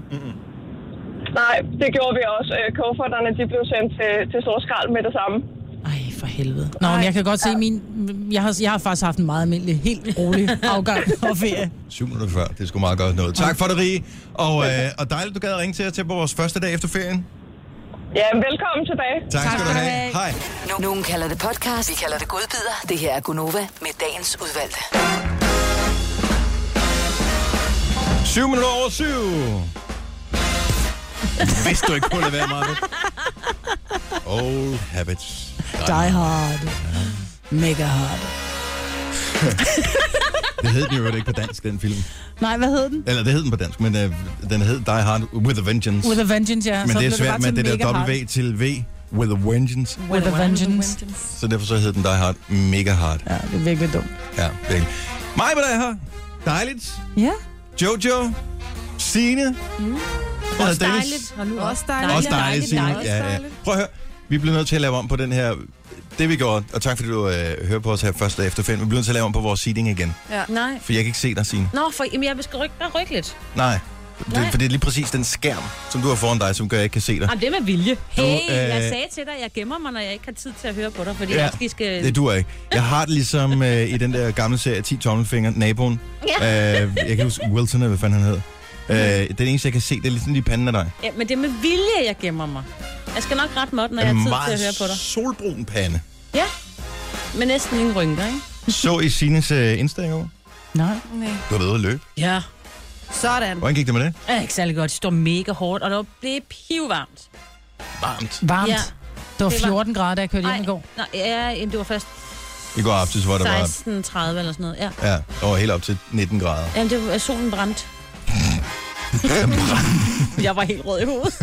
G: Nej, det gjorde vi også. Øh, kufferterne, de blev sendt til, til Storskrald med det samme.
C: Ej, for helvede. Nå, men jeg kan godt se min... Jeg har, jeg har faktisk haft en meget almindelig, helt rolig [LAUGHS] afgang og ferie.
A: Syv minutter før, det er sgu meget godt noget. Tak for det, Rie. Og, øh, og dejligt, du gad at ringe til os til vores første dag efter ferien.
G: Ja, velkommen tilbage.
A: Tak, tak skal du have. Hej.
E: No- Nogen kalder det podcast, vi kalder det godbider. Det her er Gunova med dagens udvalgte.
A: 7 minutter over 7. Hvis du ikke kunne være meget ved. Old habits.
F: Die hard. Mega hard.
A: Det hed den jo ikke på dansk, den film.
C: Nej, hvad hed den?
A: Eller det hed den på dansk, men øh, den hed Die Hard With A Vengeance.
C: With a Vengeance, ja.
A: men det
C: blev
A: er svært
C: bare
A: med
C: til
A: det der
C: mega hard.
A: W til V. With a Vengeance.
C: With a Vengeance.
A: Så derfor så hed den Die Hard Mega Hard.
C: Ja, det er virkelig dumt.
A: Ja, virkelig. Mig, hvad der er her. Dejligt.
C: Ja.
A: Jojo. Signe. Mm. Og Dennis.
D: Dejligt. Hold nu op.
B: Også dejligt.
A: Også dejligt, Signe.
B: dejligt,
A: Ja, ja.
B: dejligt.
A: Prøv at høre, vi bliver nødt til at lave om på den her... Det vi gjorde, og tak fordi du øh, hører på os her første efterfænd, vi bliver nødt til at lave om på vores seating igen.
D: Nej.
A: For jeg kan ikke se dig, Signe.
D: Nå, for jamen, jeg skal rykke, bare rykke lidt.
A: Nej. Det,
D: Nej.
A: for det er lige præcis den skærm, som du har foran dig, som gør, at jeg ikke kan se dig.
D: Jamen, det er med vilje. Hey,
A: øh,
D: jeg sagde til dig, jeg gemmer mig, når jeg ikke har tid til at høre på dig, fordi
A: Ja,
D: ja. jeg måske skal...
A: Det duer ikke. Jeg har det ligesom øh, i den der gamle serie 10 tommelfinger, naboen. Ja. Øh, jeg kan ikke huske Wilson, eller hvad fanden han hed. Øh, den eneste, jeg kan se, det er ligesom lige panden af dig.
D: Ja, men det er med vilje, jeg gemmer mig. Jeg skal nok ret måtte, når jeg
A: en
D: har tid til
A: meget
D: at høre på dig.
A: solbrun pande.
D: Ja, men næsten ingen rynker, ikke?
A: Så i Sines øh, Insta i går.
C: Nej.
B: Nej.
A: Du har været ude at løbe.
D: Ja.
B: Sådan.
A: Hvordan gik det med det?
D: Det er ikke særlig godt. Det står mega hårdt, og det var blevet pivvarmt.
A: Varmt.
C: Varmt.
D: Ja.
C: Ja. Det var
D: Det var-
C: 14 grader, da jeg kørte hjem i går.
D: nej, ja, jamen, det var først
A: I går aftes, hvor der var
D: 16.30 eller sådan noget. Ja.
A: Ja, og helt op til 19 [LAUGHS] grader.
D: Jamen, det var, solen brændte. jeg var helt rød i
C: [LAUGHS]
D: hovedet.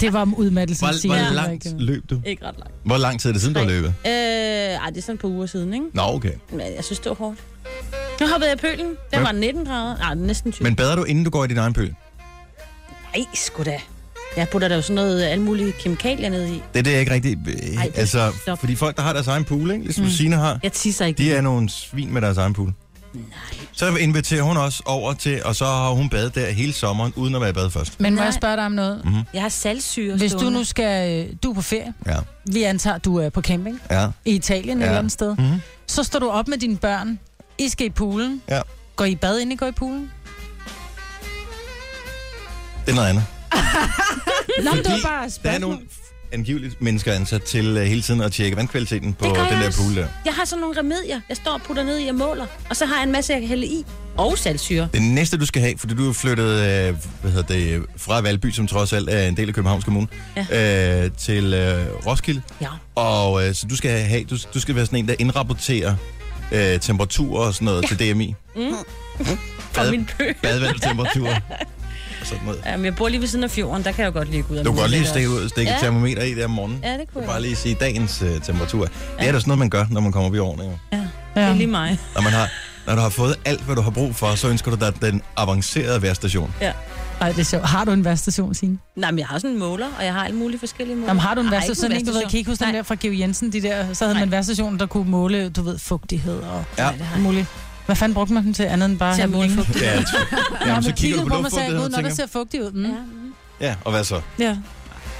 C: Det var om udmattelsen.
A: Hvor,
C: siger
A: hvor
C: jeg.
A: langt løb du?
D: ikke ret langt.
A: Hvor lang tid er det siden, du har løbet?
D: Øh, ej, det er sådan et par uger siden, ikke?
A: Nå, okay.
D: Men jeg synes, det var hårdt. Nu hoppede jeg i pølen. Den
A: Ja.
D: var 19 grader. Nej, næsten 20.
A: Men bader du, inden du går i din egen pøl?
D: Nej, sgu da. Jeg putter der jo sådan noget øh, alle mulige kemikalier ned i.
A: Det er det, jeg ikke rigtig...
D: Ej,
A: Ej, altså,
D: stop.
A: fordi folk, der har deres egen pool, ikke? ligesom mm. Sina har,
D: Jeg tisser ikke.
A: de er nogle svin med deres egen pool. Så inviterer hun os over til, og så har hun badet der hele sommeren, uden at være i bad først.
C: Men må jeg
D: Nej.
C: spørge dig om noget?
A: Mhm.
D: Jeg har salgsyre
C: Hvis du
D: stående.
C: nu skal... øh, Du er på ferie.
A: Ja,
C: Vi antager, du er på camping
A: ja,
C: i Italien
A: Ja.
C: ja. eller et andet sted.
A: Mhm.
C: Mm-hmm. Så står du op med dine børn. I skal i poolen.
A: ja.
C: Går I i bad, inden I går i poolen?
A: Det er noget andet.
C: Nå, men det var
A: Fordi
C: bare et
A: Der er
C: spørgsmål.
A: nogle angiveligt mennesker ansat til uh, hele tiden at tjekke vandkvaliteten på den
D: Det gør jeg
A: der
D: også.
A: pool der.
D: Jeg har sådan nogle remedier. Jeg står og putter ned i og måler. Og så har jeg en masse, jeg kan hælde i. Og salgsyre.
A: Det næste, du skal have, fordi du er flyttet øh, hvad hedder det, øh, fra Valby, som trods alt er en del af Københavns Kommune, ja. øh, til øh, Roskilde.
D: Ja.
A: Og øh, så du skal, have, du, du skal være sådan en, der indrapporterer øh, temperaturer og sådan noget ja. til DMI. Mm.
D: Og
A: Bad,
D: min pøl.
A: [LAUGHS] badevandtemperaturer. og sådan noget.
D: Jamen, jeg bor lige ved siden af fjorden. Der kan jeg jo godt ligge ud. og
A: Du kan
D: måle
A: godt lige
D: lidt
A: stikke
D: også.
A: ud og stikke ja.
D: Ja.
A: termometer i der om morgenen.
D: Ja, det kunne jeg.
A: Bare lige sige dagens øh, temperatur. Det er da sådan noget, man gør, når man kommer op i årene. Jo.
D: Ja. Det er lige mig.
A: Når, man har, når du har fået alt, hvad du har brug for, så ønsker du dig den avancerede værstation.
C: Ej, det er sjovt. Har du en værstation, Signe?
D: Nej, men jeg har sådan en måler, og jeg har alle mulige forskellige måler.
C: Jamen, har du en
D: Jeg
C: værstation? Ikke, du ved, jeg kan ikke huske den der fra Geo Jensen, de der, så havde
D: Nej.
C: man en værstation, der kunne måle, du ved, fugtighed og
A: Ja.
C: alt muligt. Hvad fanden brugte man den til andet end bare
D: Til
C: have
D: at
C: den
D: måle
C: hængende?
D: fugtighed.
A: Ja, jeg tror- jamen, så
C: man
A: kigger du på
C: mig og sagde,
A: luftfugtigheden
C: "Gud,
A: og
C: når der
A: tænker,
C: ser fugtigt ud. Mm.
D: Ja.
C: Ja.
A: ja, og hvad så?
C: ja.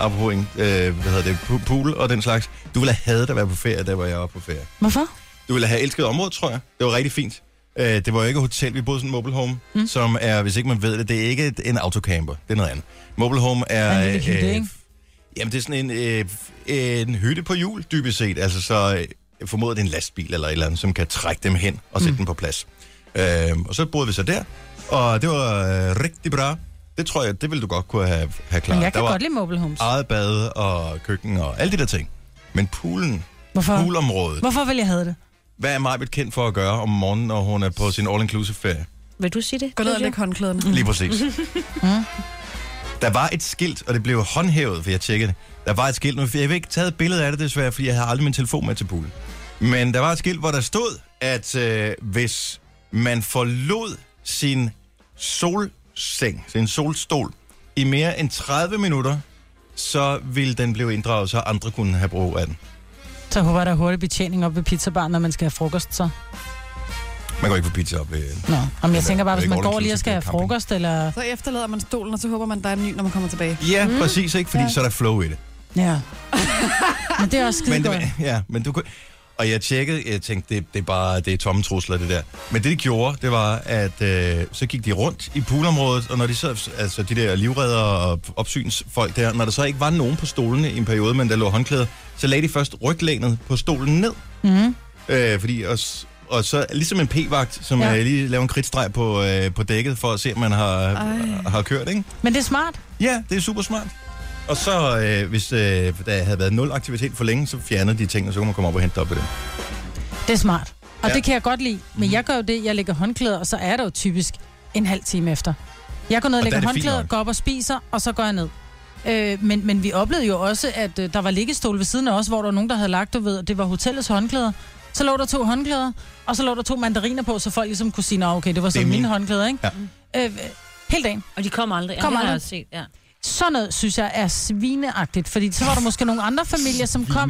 A: Apropos en, øh, hvad hedder det, pu- pool og den slags. Du ville have hadet at være på ferie, der var jeg var på ferie.
C: Hvorfor?
A: Du ville have elsket området, tror jeg. Det var rigtig fint. Øh, det var jo ikke et hotel, vi boede i sådan en mobile home, mm. som er, hvis ikke man ved det, det er ikke et- en autocamper. Det er noget andet. Mobile home er...
C: Er en lille hytte,
A: øh,
C: ikke?
A: Jamen, det er sådan en, øh, en hytte på hjul, dybest set. Altså, så øh, jeg formoder det er en lastbil eller et eller andet, som kan trække dem hen og sætte mm. dem på plads. Øh, og så boede vi så der, og det var øh, rigtig bra. Det tror jeg, det ville du godt kunne have, have klaret.
C: Men jeg kan
A: der var Ah,
C: godt lide mobile homes.
A: eget bad og køkken og alle de der ting. Men poolen,
C: Hvorfor?
A: poolområdet,
C: Hvorfor vil jeg have det?
A: hvad er Majbet kendt for at gøre om morgenen, når hun er på sin all-inclusive ferie?
D: Vil du sige det?
B: Gå ned og
D: Jojo?
B: læg håndklæderne.
A: Lige præcis. Der var et skilt, og det blev håndhævet, for jeg tjekkede det. Der var et skilt, men jeg vil ikke taget et billede af det desværre, fordi jeg havde aldrig min telefon med til poolen. Men der var et skilt, hvor der stod, at øh, hvis man forlod sin solseng, sin solstol, i mere end 30 minutter, så ville den blive inddraget, så andre kunne have brug af den.
C: Så håber jeg, der er hurtig betjening op ved pizzabaren, når man skal have frokost, så.
A: Man går ikke på pizza op ved...
C: Nå, om jeg tænker bare,
A: det er
C: hvis man
A: ikke
C: går lige og
A: all-inclusive
C: skal have
A: camping.
C: frokost, eller...
B: Så efterlader man stolen, og så håber man, der er en ny, når man kommer tilbage.
A: Ja, mm.
D: [LAUGHS]
A: præcis, ikke? Fordi ja. så er der flow i det.
C: Ja. Men det er også skide
A: Men,
C: godt.
A: det, [LAUGHS] ja, men du kunne... Og jeg tjekkede, jeg tænkte, det, det er bare det er tomme trusler, det der. Men det, de gjorde, det var, at øh, så gik de rundt i poolområdet, og når de så, altså de der livredder og opsynsfolk der, når der så ikke var nogen på stolene i en periode, men der lå håndklæder, så lagde de først ryglænet på stolen ned.
C: Mhm.
A: Mm. Øh, fordi, og, s- og så ligesom en p-vagt, som
C: Ja.
A: ja. øh, lige laver en kridtstreg på, øh, på dækket, for at se, om man har,
B: Ej.
A: har kørt, ikke?
C: Men det er smart.
A: Ja, det er super smart. Og så, øh, hvis øh, der havde været nul aktivitet for længe, så fjernede de ting, og så kunne man komme op og hente op i det.
C: Det er smart. Og
A: Ja. Mhm.
C: ja. det kan jeg godt lide. Men jeg gør jo det, jeg lægger håndklæder, og så er det jo typisk en halv time efter. Jeg går ned og,
A: Og der er
C: lægger
A: det fint
C: håndklæder,
A: nok.
C: går op og spiser, og så går jeg ned. Øh, men, men vi oplevede jo også, at øh, der var liggestol ved siden af os, hvor der var nogen, der havde lagt, du ved, og det var hotellets håndklæder. Så lå der to håndklæder, og så lå der to mandariner på, så folk ligesom kunne sige, "Nå, okay, det var så
A: Det er
C: mine
A: min."
C: håndklæder, ikke?
A: Ja.
C: Øh, øh, hele dagen.
D: Og de kommer aldrig. Ja,
C: Kommer
D: det har
C: aldrig.
D: jeg også set, ja.
C: Sådan noget, synes jeg, er svineagtigt, fordi så var der måske nogle andre familier, som kom.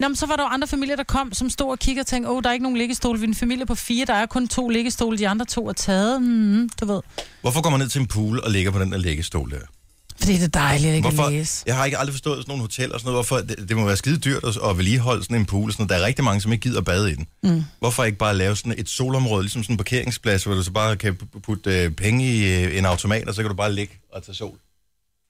C: Nå, men så var der jo andre familier, der kom, som stod og kiggede og tænkte, åh, oh, der er ikke nogen liggestol. Vi er en familie på fire, der er kun to liggestole, de andre to er taget. Mm, du ved.
A: Hvorfor går man ned til en pool og ligger på den der læggestol der?
C: Fordi det er dejligt, ikke
A: Hvorfor?
C: at læse.
A: Jeg har ikke aldrig forstået sådan nogle hoteller og sådan noget. Hvorfor? Det, det må være skide dyrt at, at vedligeholde sådan en pool. og Sådan noget. Der er rigtig mange, som ikke gider at bade i den. Mm. Hvorfor ikke bare lave sådan et solområde, ligesom sådan en parkeringsplads, hvor du så bare kan p- putte øh, penge i øh, en automat, og så kan du bare ligge og tage sol?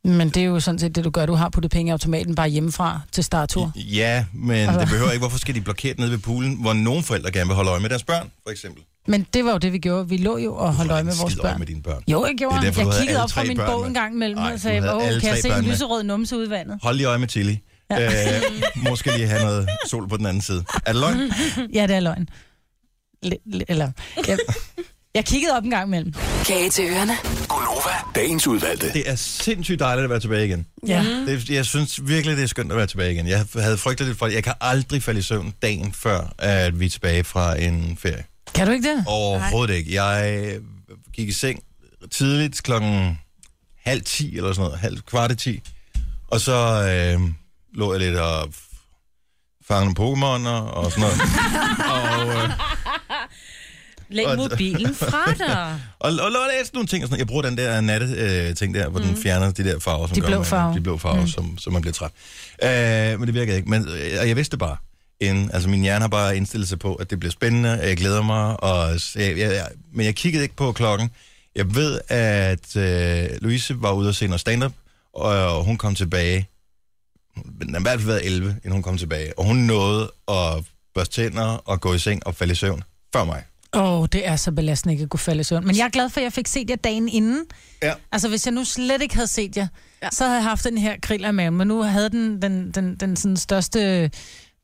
C: Men det er jo sådan set det, du gør. Du har puttet penge i automaten bare hjemmefra til startur.
A: Ja, men det behøver ikke. Hvorfor skal de blokere det nede ved poolen, hvor nogle forældre gerne vil holde øje med deres børn, for eksempel?
C: Men det var jo det, vi gjorde. Vi lå jo og holdt øje med
A: Skide
C: vores børn.
A: med dine børn.
C: Jo, jeg gjorde.
A: Det er derfor,
C: jeg
A: du havde
C: kiggede
A: alle
C: op fra
A: tre
C: min
A: børn
C: bog
A: med.
C: en gang imellem,
A: Ej,
C: og
A: du
C: sagde,
A: havde
C: åh,
A: alle
C: kan jeg
A: tre
C: se
A: børn
C: en
A: med.
C: lyserød numse ud i vandet?
A: Hold lige øje med Tilly. Ja. Øh, måske lige have noget sol på den anden side. Er det løgn?
C: Ja, det er løgn. L- l- eller, jeg, jeg kiggede op en gang imellem.
E: Kage til ørerne.
H: Gunova, dagens udvalgte.
A: Det er sindssygt dejligt at være tilbage igen.
C: Ja.
A: Det, jeg synes virkelig, det er skønt at være tilbage igen. Jeg havde frygtet lidt for det. Jeg kan aldrig falde i søvn dagen før, at vi er tilbage fra en ferie.
C: Kan du ikke det?
A: Overhovedet ikke. Jeg gik i seng tidligt klokken halv ti eller sådan noget, halv kvart i ti. Og så øh, lå jeg lidt og f- fangede nogle Pokémon'er og sådan noget. øh,
D: Læg
A: Og-
D: mobilen
A: [LAUGHS]
D: fra dig.
A: Og, og, og læste nogle ting og sådan Jeg bruger den der natte øh, ting der, hvor mm. den fjerner de der farver, som
C: De
A: gør,
C: blå
A: man-
C: farver.
A: De blå farver, mm. som, som man bliver træt. Øh, men det virkede ikke. Men øh, og jeg vidste det bare. Inden, altså min hjerne har bare indstillet sig på, at det bliver spændende, og jeg glæder mig. Og, s- jeg, jeg, jeg, men jeg kiggede ikke på klokken. Jeg ved, at øh, Louise var ude og se noget stand-up, og, og hun kom tilbage. Den har i hvert fald været 11, inden hun kom tilbage. Og hun nåede at børste tænder og gå i seng og falde i søvn før mig.
C: Åh, oh, det er så belastende ikke at kunne falde i søvn. Men jeg er glad for, at jeg fik set jer dagen inden.
A: Ja.
C: Altså, hvis jeg nu slet ikke havde set jer, ja. så havde jeg haft den her kriller i maven. Men nu havde den den, den, den sådan største,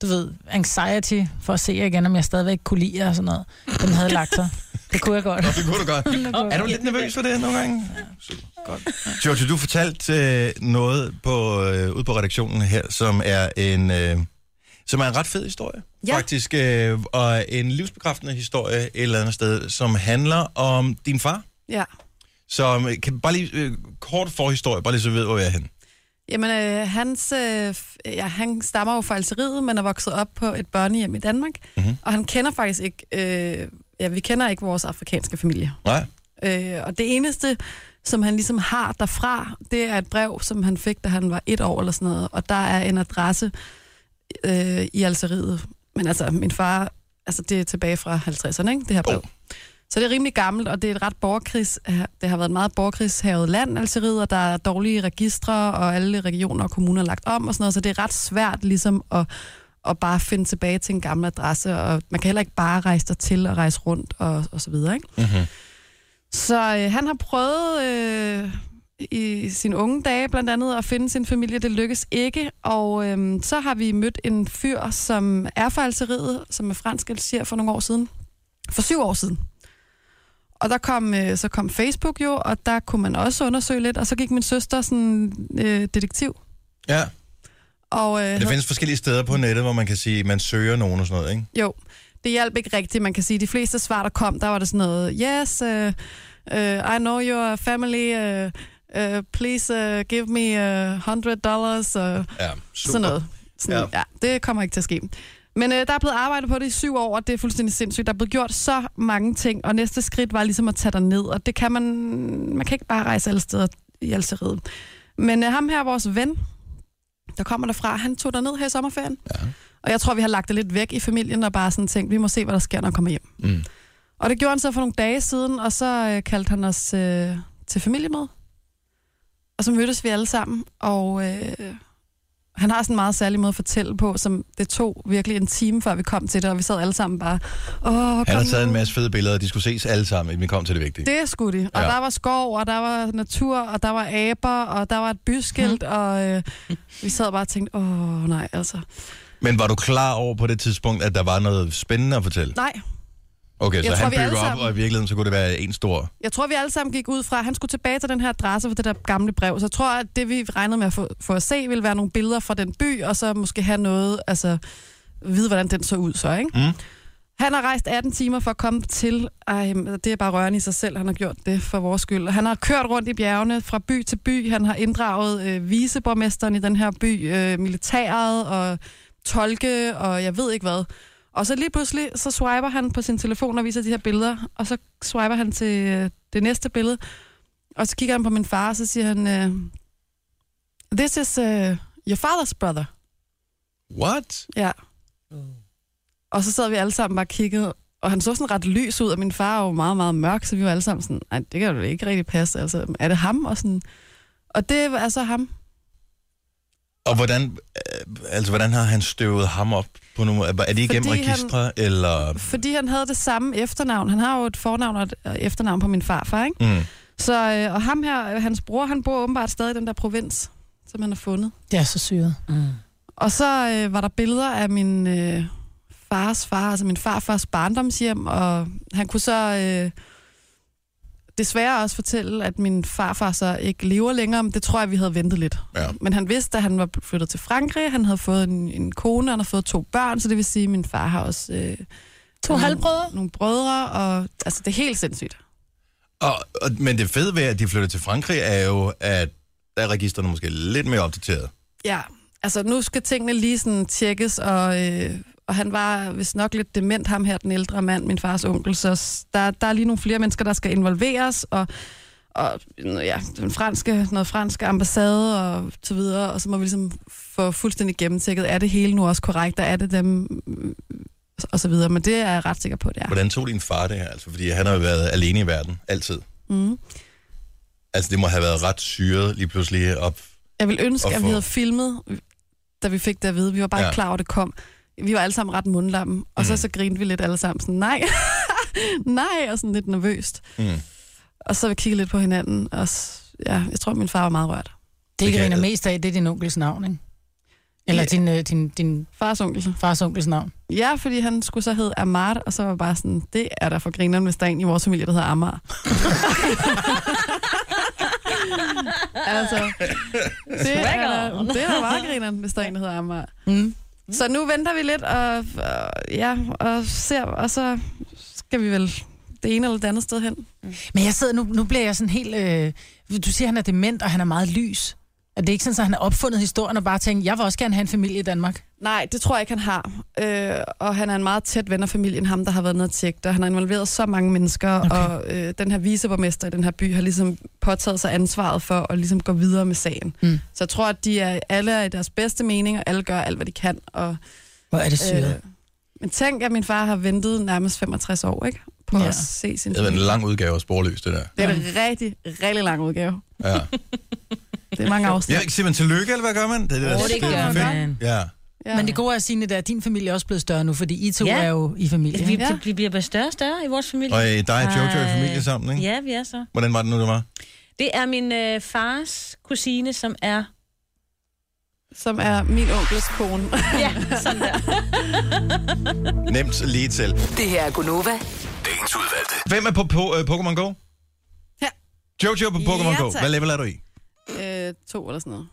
C: du ved, anxiety for at se jer igen, om jeg stadigvæk kunne lide jer og sådan noget. Den havde lagt sig. Det kunne jeg godt.
A: Det kunne du godt. Er du lidt nervøs for det nogle gange? Ja, Godt. George, du fortalte øh, noget på, øh, ude på redaktionen her, som er en, øh, som er en ret fed historie, ja. faktisk, øh, og en livsbekræftende historie et eller andet sted, som handler om din far.
B: Ja.
A: Som, øh, kan bare lige øh, kort forhistorie, bare lige så vi ved, hvor jeg er henne.
B: Jamen, øh, hans, øh, f- ja, han stammer jo fra Algeriet, men er vokset op på et børnehjem i Danmark. Mm-hmm. Og han kender faktisk ikke, øh, ja, vi kender ikke vores afrikanske familie.
A: Nej?
B: Øh, og det eneste, som han ligesom har derfra, det er et brev, som han fik, da han var et år eller sådan noget. Og der er en adresse øh, i Algeriet. Men altså, min far, altså det er tilbage fra 50'erne, ikke? det her brev.
A: Jo.
B: Så det er rimelig gammelt, og det er et ret borgerkrigs... Det har været et meget borgerkrigshavet land, Algeriet, og der er dårlige registre, og alle regioner og kommuner er lagt om og sådan noget, så det er ret svært ligesom at, at bare finde tilbage til en gammel adresse, og man kan heller ikke bare rejse der til og rejse rundt og, og så videre, ikke?
A: Mm-hmm.
B: Så øh, han har prøvet øh, i sine unge dage blandt andet at finde sin familie. Det lykkes ikke. Og øh, så har vi mødt en fyr, som er fra Algeriet, som er fransk alger for nogle år siden. For syv år siden. Og der kom, øh, så kom Facebook jo, og der kunne man også undersøge lidt. Og så gik min søster sådan øh, detektiv.
A: Ja,
B: Og, øh,
A: der findes forskellige steder på nettet, hvor man kan sige, at man søger nogen og sådan noget, ikke?
B: Jo, det hjalp ikke rigtigt. Man kan sige, at de fleste svar, der kom, der var det sådan noget, yes, uh, uh, I know your family, uh, uh, please uh, give me uh, 100 dollars, uh,
A: Ja, super.
B: sådan noget. Sådan, ja. ja. Det kommer ikke til at ske. Men øh, der er blevet arbejdet på det i syv år, og det er fuldstændig sindssygt. Der er blevet gjort så mange ting, og næste skridt var ligesom at tage dig ned, og det kan man... Man kan ikke bare rejse alle steder i Algeriet. uh, Men øh, ham her, vores ven, der kommer derfra, han tog dig ned her i sommerferien. Ja. Og jeg tror, vi har lagt det lidt væk i familien og bare sådan tænkt, vi må se, hvad der sker, når han kommer hjem.
A: Mm.
B: Og det gjorde han så for nogle dage siden, og så øh, kaldte han os øh, til familiemad. Og så mødtes vi alle sammen, og øh, han har sådan en meget særlig måde at fortælle på, som det tog virkelig en time, før vi kom til det, og vi sad alle sammen bare, åh,
A: Han har
B: kom
A: taget
B: nu."
A: en masse fede billeder, og de skulle ses alle sammen, inden vi kom til det vigtige.
B: Det skulle de. Og
A: Ja.
B: ja. der var skov, og der var natur, og der var aber, og der var et byskilt,
A: Mhm.
B: mm. og øh, vi sad bare og tænkte, åh nej, altså.
A: Men var du klar over på det tidspunkt, at der var noget spændende at fortælle?
B: Nej,
A: Okay, så
B: tror,
A: han
B: vi alle
A: bygger op,
B: sammen-
A: og i virkeligheden så kunne det være en stor...
B: jeg tror, vi alle sammen gik ud fra, at han skulle tilbage til den her adresse for det der gamle brev. Så jeg tror, at det vi regnede med at få, få at se, ville være nogle billeder fra den by, og så måske have noget, altså vide, hvordan den så ud så, ikke?
A: Mm.
B: Han har rejst 18 timer for at komme til. Ej, men det er bare rørende i sig selv, han har gjort det for vores skyld. Han har kørt rundt i bjergene fra by til by. Han har inddraget øh, viceborgmesteren i den her by, øh, militæret og tolke og jeg ved ikke hvad. Og så lige pludselig, så swiper han på sin telefon og viser de her billeder, og så swiper han til øh, det næste billede. Og så kigger han på min far, og så siger han, øh, This is øh, your father's brother.
A: What?
B: Ja. Og så sad vi alle sammen bare og kiggede, og han så sådan ret lys ud, og min far var jo meget, meget mørk, så vi var alle sammen sådan, nej, det kan jo ikke rigtig passe, altså, er det ham? Og, sådan. og det er så ham.
A: Og hvordan, øh, altså, hvordan har han støvet ham op på nogle... Er det igennem
B: Fordi han-
A: registre, han... eller...
B: Fordi han havde det samme efternavn. Han har jo et fornavn og et øh, efternavn på min farfar, ikke?
A: Mm.
B: Så, øh, og ham her, øh, hans bror, han bor åbenbart stadig i den der provins, som han har fundet.
F: Det er så syret.
B: Og så øh, var der billeder af min øh, fars far, altså min farfars barndomshjem, og han kunne så øh, desværre også fortælle, at min farfar så ikke lever længere, men det tror jeg, vi havde ventet lidt.
A: Ja.
B: Men han vidste, at han var flyttet til Frankrig, han havde fået en, en kone, han har fået to børn, så det vil sige, at min far har også øh,
F: To halvbrødre.
B: nogle brødre, og altså det er helt sindssygt.
A: Og, og, men det fede ved, at de flytter til Frankrig, er jo, at der er registrene måske lidt mere opdateret.
B: Ja, altså nu skal tingene lige sådan tjekkes, og, øh, og han var vist nok lidt dement, ham her, den ældre mand, min fars onkel, så s- der, der er lige nogle flere mennesker, der skal involveres, og, og ja, den franske, noget franske ambassade og så videre, og så må vi ligesom få fuldstændig gennemtjekket, er det hele nu også korrekt, og er det dem, mm, og så videre, men det er jeg ret sikker på, det er.
A: Hvordan tog din far det her? Altså, fordi han har jo været alene i verden, altid.
B: Mm.
A: Altså, det må have været ret syret lige pludselig op.
B: Jeg vil ønske,
A: Og
B: at
A: få-
B: vi havde filmet, da vi fik det at vide. Vi var bare
A: Ja.
B: ja. ikke klar over, at det kom. Vi var alle sammen ret mundlamme, og
A: Mm.
B: så, så grinte vi lidt alle sammen sådan, nej, [LAUGHS] nej, og sådan lidt nervøst.
A: Mm.
B: Og så vi kiggede lidt på hinanden, og s- ja, jeg tror, min far var meget rørt.
F: Det,
A: kan
F: det griner
A: jeg-
F: mest af, det er din onkels navn, ikke? Eller
B: Ja.
F: din, øh, din, din
B: Fars onkel. så.
F: fars onkels navn.
B: Ja, fordi han skulle så hedde Amart, og så var jeg bare sådan, det er der for grineren, hvis der er en i vores familie, der hedder Amar. altså, det er, der, det er der meget grineren, hvis der er en, der hedder Amar.
F: Mm.
B: Så nu venter vi lidt og, og, ja, og ser, og så skal vi vel det ene eller det andet sted hen.
F: Men jeg sidder, nu, nu bliver jeg sådan helt... Øh, du siger, han er dement, og han er meget lys. Og det er ikke sådan, at han har opfundet historien og bare tænkt, jeg vil også gerne have en familie i Danmark.
B: Nej, det tror jeg ikke, han har. Øh, og han er en meget tæt ven af familien, ham der har været nede og tjekke og Han har involveret så mange mennesker, okay. og øh, den her viceborgmester i den her by har ligesom påtaget sig ansvaret for at ligesom gå videre med sagen.
F: Mm.
B: Så jeg tror, at de er, alle er i deres bedste mening, og alle gør alt, hvad de kan. Og,
F: Hvor er det
B: øh,
F: syret.
B: men tænk, at min far har ventet nærmest 65 år ikke, på
F: Ja.
B: ja. at se sin
A: Det var en
B: familie.
A: lang udgave af sporløs, det der.
B: Det er en rigtig, rigtig lang udgave.
A: Ja.
B: Det er
F: [LAUGHS]
B: mange afsnit.
A: Jeg siger man tillykke, eller hvad gør man? Det, er det, der,
B: Åh, det gør
A: fedt.
C: man.
A: Ja.
B: Ja.
F: Men det gode er, Signe, det er, at din familie er også blevet større nu, fordi I to
D: Ja.
F: er jo i familie.
D: Vi,
F: ikke?
B: Ja.
D: ja. vi bliver bare større og større i vores familie.
A: Og øh, dig og Jojo i
D: Ej.
A: familie sammen, ikke?
D: Ja, vi er så.
A: Hvordan var det nu, det var?
D: Det er min øh, fars kusine, som er...
B: Som er min onkels kone. [LAUGHS]
D: Ja, sådan der.
A: Nemt lige til.
E: Det her er Gunova.
H: Dagens udvalgte.
A: Hvem er på, på øh, Pokémon Go?
B: Ja.
A: Jojo på Pokémon
B: Ja,
A: Go.
B: tak.
A: Hvad level er du i?
B: øh, to eller sådan noget.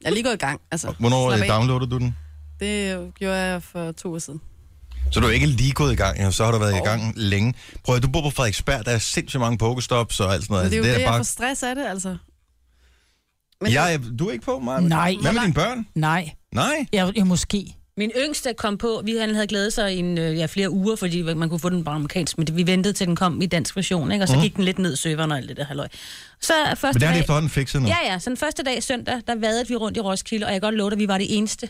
B: Jeg er lige gået i gang. Altså,
A: Hvornår
B: Slap
A: øh,
B: af.
A: downloadede du den?
B: Det gjorde jeg for to år siden.
A: Så du er ikke lige gået i gang, ja, så har du været oh. i gang længe. Prøv at du bor på Frederiksberg, der er sindssygt mange pokestops og alt sådan noget.
B: Men det er jo det, jeg
A: Altså, bare...
B: får stress af det, altså.
A: Men jeg, er- du er ikke på, Maja?
F: Nej.
A: Hvad med dine børn?
F: Nej,
A: Nej.
C: Altså,
F: jeg, jeg måske.
D: Min yngste kom på, vi han havde glædet sig i en, øh, ja, flere uger, fordi man kunne få den bare amerikansk, men det- vi ventede til den kom i dansk version, ikke? og så gik den lidt ned i serveren og alt det der halløj. Så øh, første
A: Mhm. Men det har de
D: dag,
A: efterhånden fikset nu.
D: ja, ja, så den første dag søndag, der vadede vi rundt i Roskilde, og jeg kan godt love dig, at vi var det eneste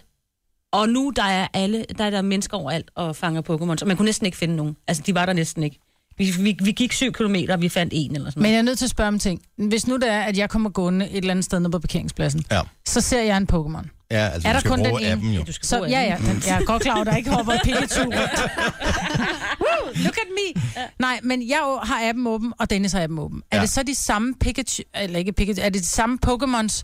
D: Og nu der er, alle, der er der mennesker overalt og fanger Pokémon, så man kunne næsten ikke finde nogen. Altså, de var der næsten ikke. Vi, vi, vi gik syv kilometer, og vi fandt en eller sådan
C: Men
D: noget.
C: jeg er nødt til at spørge om en ting. Hvis nu det er, at jeg kommer gående et eller andet sted nede på parkeringspladsen,
A: Ja.
C: så ser jeg en Pokémon.
A: Ja, altså,
C: Er
A: er du
C: der
A: skal
C: kun
A: bruge
C: den ene?
A: appen jo.
D: Du skal
C: Så
D: bruge
C: ja,
D: alle.
C: ja, den, jeg er godt klar over, der ikke hopper et Pikachu rundt. Woo, Look at me. Nej, men jeg jo har appen åben, og Dennis har appen åben. Er
A: Ja.
C: det så de samme Pikachu, eller ikke Pikachu, er det de samme Pokémons,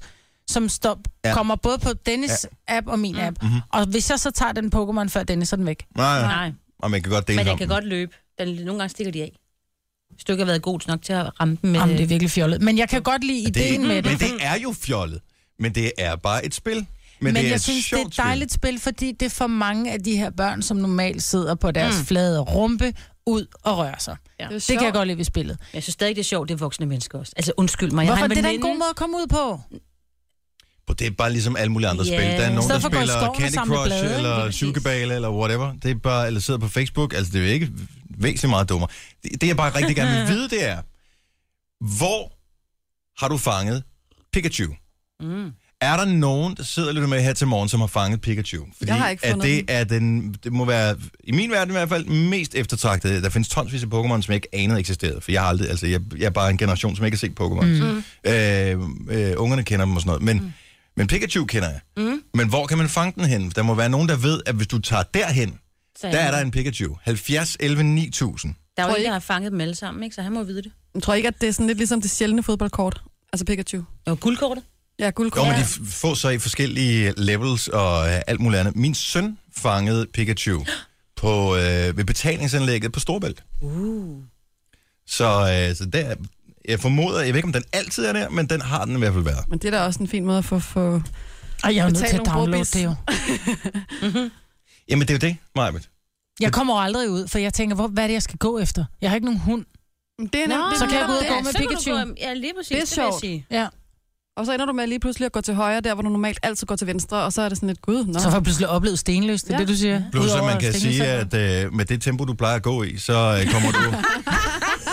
C: som stop,
A: Ja. Mhm.
C: kommer både på Dennis' app og min app? Og hvis jeg så tager den Pokémon før Dennis, så er den væk.
A: Nej,
D: Nej,
A: og man kan godt dele
D: men den
A: om
D: kan
A: den.
D: godt løbe. Den, nogle gange stikker de af. Hvis du ikke har været god nok til at ramme dem øh, med...
C: Jamen, det er virkelig fjollet. Men jeg kan godt lide
A: det,
C: ideen med det.
A: Men det er jo fjollet. Men det er bare et spil. Men,
C: Men,
A: det er
C: men jeg
A: et
C: synes, det
A: sjovt
C: er et dejligt spil, fordi det er for mange af de her børn, som normalt sidder på deres mm. flade rumpe, ud og rører sig.
D: Ja.
C: Det, det kan jeg godt lide ved spillet.
D: Men Jeg synes stadig, det er sjovt, det er voksne mennesker også. Altså, undskyld mig. Jeg
C: Hvorfor?
D: har
C: Det er da en
D: veninde-
C: god måde at komme ud på.
A: Spil. Det er bare ligesom alle mulige andre
D: Ja.
A: spil. Der er nogen,
C: stedet
A: der
C: for at gå i skoven
A: spiller
C: og
A: Candy
C: samle
A: Crush
C: blade, ikke? Lige
A: eller
C: præcis.
A: Sugarbale eller whatever. Det er bare, eller sidder på Facebook. Altså, det er jo ikke væsentligt meget dummere. Det, det jeg bare rigtig gerne
C: [LAUGHS]
A: vil vide, det er, hvor har du fanget Pikachu? Mm. Er der nogen, der sidder lidt med her til morgen, som har fanget Pikachu? Fordi
B: har ikke
A: at
B: fundet
A: det, er den, det må være, i min verden i hvert fald, mest eftertragtede. Der findes tonsvis af Pokémon, som jeg ikke anede eksisterede. For jeg har aldrig, altså jeg, jeg er bare en generation, som ikke har set Pokémon. Mm. Øh, øh, ungerne kender dem og sådan noget. Men, mm. men Pikachu kender jeg. Mm. Men hvor kan man fange den hen? Der må være nogen, der ved, at hvis du tager derhen,
D: Så
A: der
D: han-
A: er der en Pikachu. 70, 11, 9000.
D: Der er jo
B: Tror I
D: ikke, der har fanget dem alle sammen, ikke? så han må vide det.
B: Jeg tror ikke, at det er sådan lidt ligesom det sjældne fodboldkort. Altså Pikachu.
D: Og guldkortet.
B: Ja,
A: Jo,
B: guldkort.
A: men de f- får så i forskellige levels og øh, alt muligt andet. Min søn fangede [GASPS] Pikachu på, øh, ved betalingsanlægget på Storbælt. Uh. Så, øh, så der, jeg formoder, jeg ved ikke, om den altid er der, men den har den i hvert fald været.
B: Men det er da også en fin måde at få... få...
C: Og jeg er jo nødt
B: Betal
C: til at
B: nogle
C: downloade
B: brobis.
C: det jo.
D: Mm-hmm.
A: Jamen, det er jo det, Majbet.
C: Jeg kommer jo aldrig ud, for jeg tænker, hvor, hvad er det, jeg skal gå efter? Jeg har ikke nogen hund.
B: Men Det er nemt, det er
C: så kan jeg gå ud og
B: netop
C: gå
B: det.
C: med
D: så kan du
C: Pikachu.
D: gå- Ja, lige præcis.
B: Det er
D: Det, vil jeg
B: sjovt.
D: sige.
C: Ja.
B: Og så ender du med lige pludselig at gå til højre, der hvor du normalt altid går til venstre, og så er det sådan lidt gud. Nå.
C: Så får jeg pludselig oplevet stenløs, det er
B: Ja.
C: det, du siger.
A: Plus, at
C: Udover
A: man kan sige,
C: stenløs.
A: at øh, med det tempo, du plejer at gå i, så øh, kommer [LAUGHS] du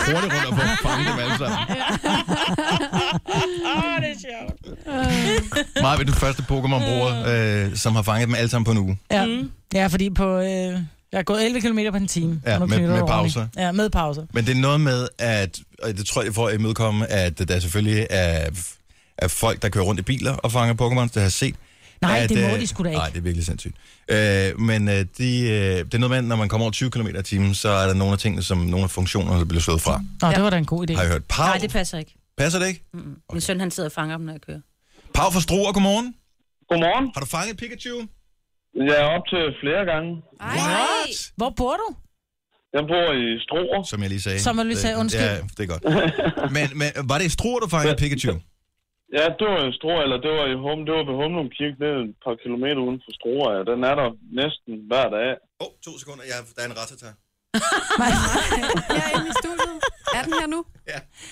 A: hurtigt rundt og får fanget dem alle sammen. Åh, det er sjovt. Majbet, du Øh. første Pokémon-bruger, øh, som har fanget dem alle sammen på en uge.
C: Ja, ja fordi på... Øh, jeg har gået 11 km på en time.
A: Ja,
C: og nu
A: med-
C: knytter
A: med
C: jeg ordentligt.
A: pauser.
C: Ja, med pauser.
A: Men det er noget med, at, og det tror jeg for at imødekomme, at der selvfølgelig er, er folk, der kører rundt i biler og fanger Pokémon, der har set.
C: Nej,
A: at,
C: det må
A: øh,
C: de sgu da ikke.
A: Nej, det er virkelig sindssygt. Øh, men øh, de, øh, det er noget med, at når man kommer over 20 km i timen, så er der nogle af tingene, som nogle af funktionerne, der bliver slået fra.
C: Nå, det var da en god idé.
A: Har I hørt? Pau,
D: Nej, det passer ikke.
A: passer det ikke?
D: Okay. Min søn, han sidder og fanger dem, når jeg kører.
A: Pau fra Struer, godmorgen.
I: Godmorgen.
A: Har du fanget Pikachu?
I: Jeg er op til flere gange.
A: What?
C: Hvor bor du? [LAUGHS]
I: Jeg bor i Struer.
A: Som jeg lige sagde.
C: Som jeg lige sagde,
A: Det-
C: undskyld.
A: Ja, det er godt. men, men var det i Struer, du fangede Pikachu?
I: Ja, det var i Struer, eller det var i Hum, det var ved Humlum Kirke, det er et par kilometer uden for Struer. Ja. Den er der næsten hver dag.
A: Åh, oh, to sekunder. Jeg, der er en ratata.
B: [LAUGHS] Jeg er inde i studiet. Er den her nu?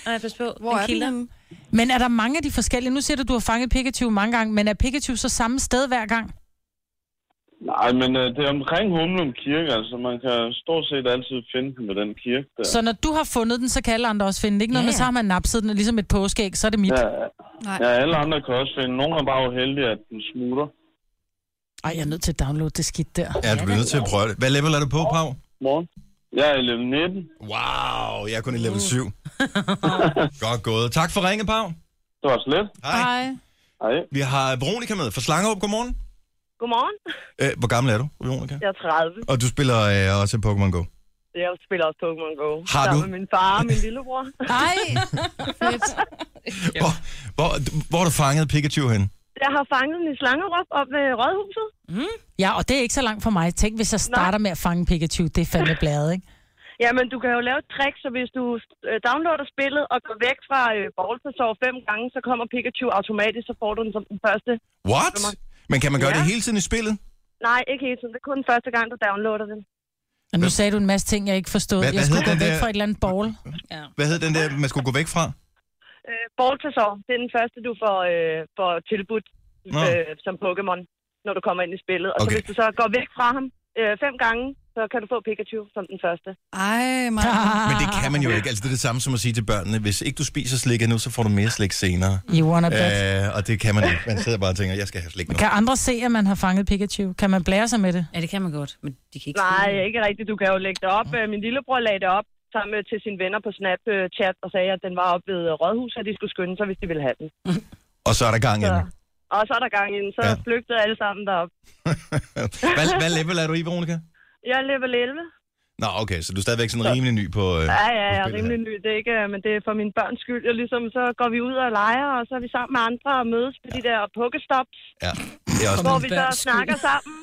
D: Nej, pas på.
B: Hvor er den?
D: kilder.
B: henne?
C: Men er der mange af de forskellige? Nu siger du, du har fanget Pikachu mange gange, men er Pikachu så samme sted hver gang?
I: Nej, men øh, det er omkring Humlum Kirke, altså man kan stort set altid finde den med den kirke der.
C: Så når du har fundet den, så kan alle andre også finde den. Ikke noget
D: Ja,
C: ja, med,
D: ja.
C: så har man napset den, og ligesom et påskeæg, så er det mit.
I: Ja,
C: Ja.
B: Nej.
I: ja, alle andre kan også finde. Nogle er bare uheldige, at den smutter.
C: Ej, jeg er nødt til at downloade det skidt der.
A: Ja, du bliver nødt til at prøve det. Hvad level er du på, Pau?
I: Morgen. Jeg er i level 19.
A: Wow, jeg er kun i level [LAUGHS] 7. Godt gået. Tak for ringe, Pau.
I: Det var slet.
A: Hej.
I: Hej.
A: Vi har Veronica med fra Slangerup. Godmorgen.
G: Godmorgen.
A: Øh, hvor gammel er du, Veronica?
G: Jeg er 30.
A: Og du spiller øh, også Pokémon Go.
G: Jeg spiller også Pokémon Go.
A: Har du?
G: Sammen med min far og min lillebror.
C: Ej,
A: Hvor, hvor, hvor har du fanget Pikachu hen?
G: Jeg har fanget den i slangerup op ved Rådhuset.
C: Ja, og det er ikke så langt for mig. Tænk, hvis jeg starter med at fange Pikachu, det er fandme bladet, ikke?
G: Jamen, du kan jo lave et trick, så hvis du øh, downloader spillet og går væk fra øh, Ballsasov fem gange, så kommer Pikachu automatisk, så får du den som den første.
A: What? Men kan man gøre
G: Ja.
A: det hele tiden i spillet?
G: Nej, ikke hele tiden. Det er kun den første gang, du downloader den.
C: Og nu sagde du en masse ting, jeg ikke forstod.
A: Hvad-
C: Hvad,
A: hvad
C: jeg skulle
A: hed
C: gå
A: den
C: væk
A: der-
C: fra et eller andet ball.
A: Hvad hed den der, man skulle gå væk fra?
G: Øh, Ballsasov, det er den første, du får, øh, får tilbudt
A: Nå.
G: øh, som Pokémon, når du kommer ind i spillet. Og okay. så
A: Okay.
G: hvis du så går væk fra ham øh, fem gange, så så kan du få Pikachu som den første.
B: Ej, [LAUGHS] Maja.
A: [LAUGHS] Men det kan man jo ikke. Altså, det er det samme som at sige til børnene, hvis ikke du spiser slik nu, så får du mere slik senere.
J: [LAUGHS] You wanna bet.
A: Øh, og det kan man ikke. Man sidder bare og tænker, jeg skal have slik nu.
J: Kan andre se, at man har fanget Pikachu? Kan man blære sig med det?
D: Ja, det kan man godt, men de kan ikke
G: Nej,
D: se det.
G: ikke rigtigt. Du kan jo lægge det op. Øh, Min lillebror lagde det op sammen med- til sine venner på Snapchat og sagde, at den var oppe ved øh, rådhuset, og de skulle skynde sig, hvis de ville have den.
A: Og så er der gang i den.
G: Og så er der gang i den, så
A: Ja.
G: ja. flygtede alle sammen derop.
A: hvad, hvad level er du i, Veronica?
G: Jeg er level 11.
A: Nå, okay, så du er stadigvæk sådan rimelig ny på... Øh,
G: Ja,
A: på
G: ja, jeg er
A: spillet
G: rimelig ny. Det er ikke, øh, men det er for min børns skyld. Jeg ligesom, så går vi ud og leger, og så er vi sammen med andre og mødes på de der pokestops,
A: her. Ja, det er også
G: hvor
A: noget.
G: vi så snakker sammen.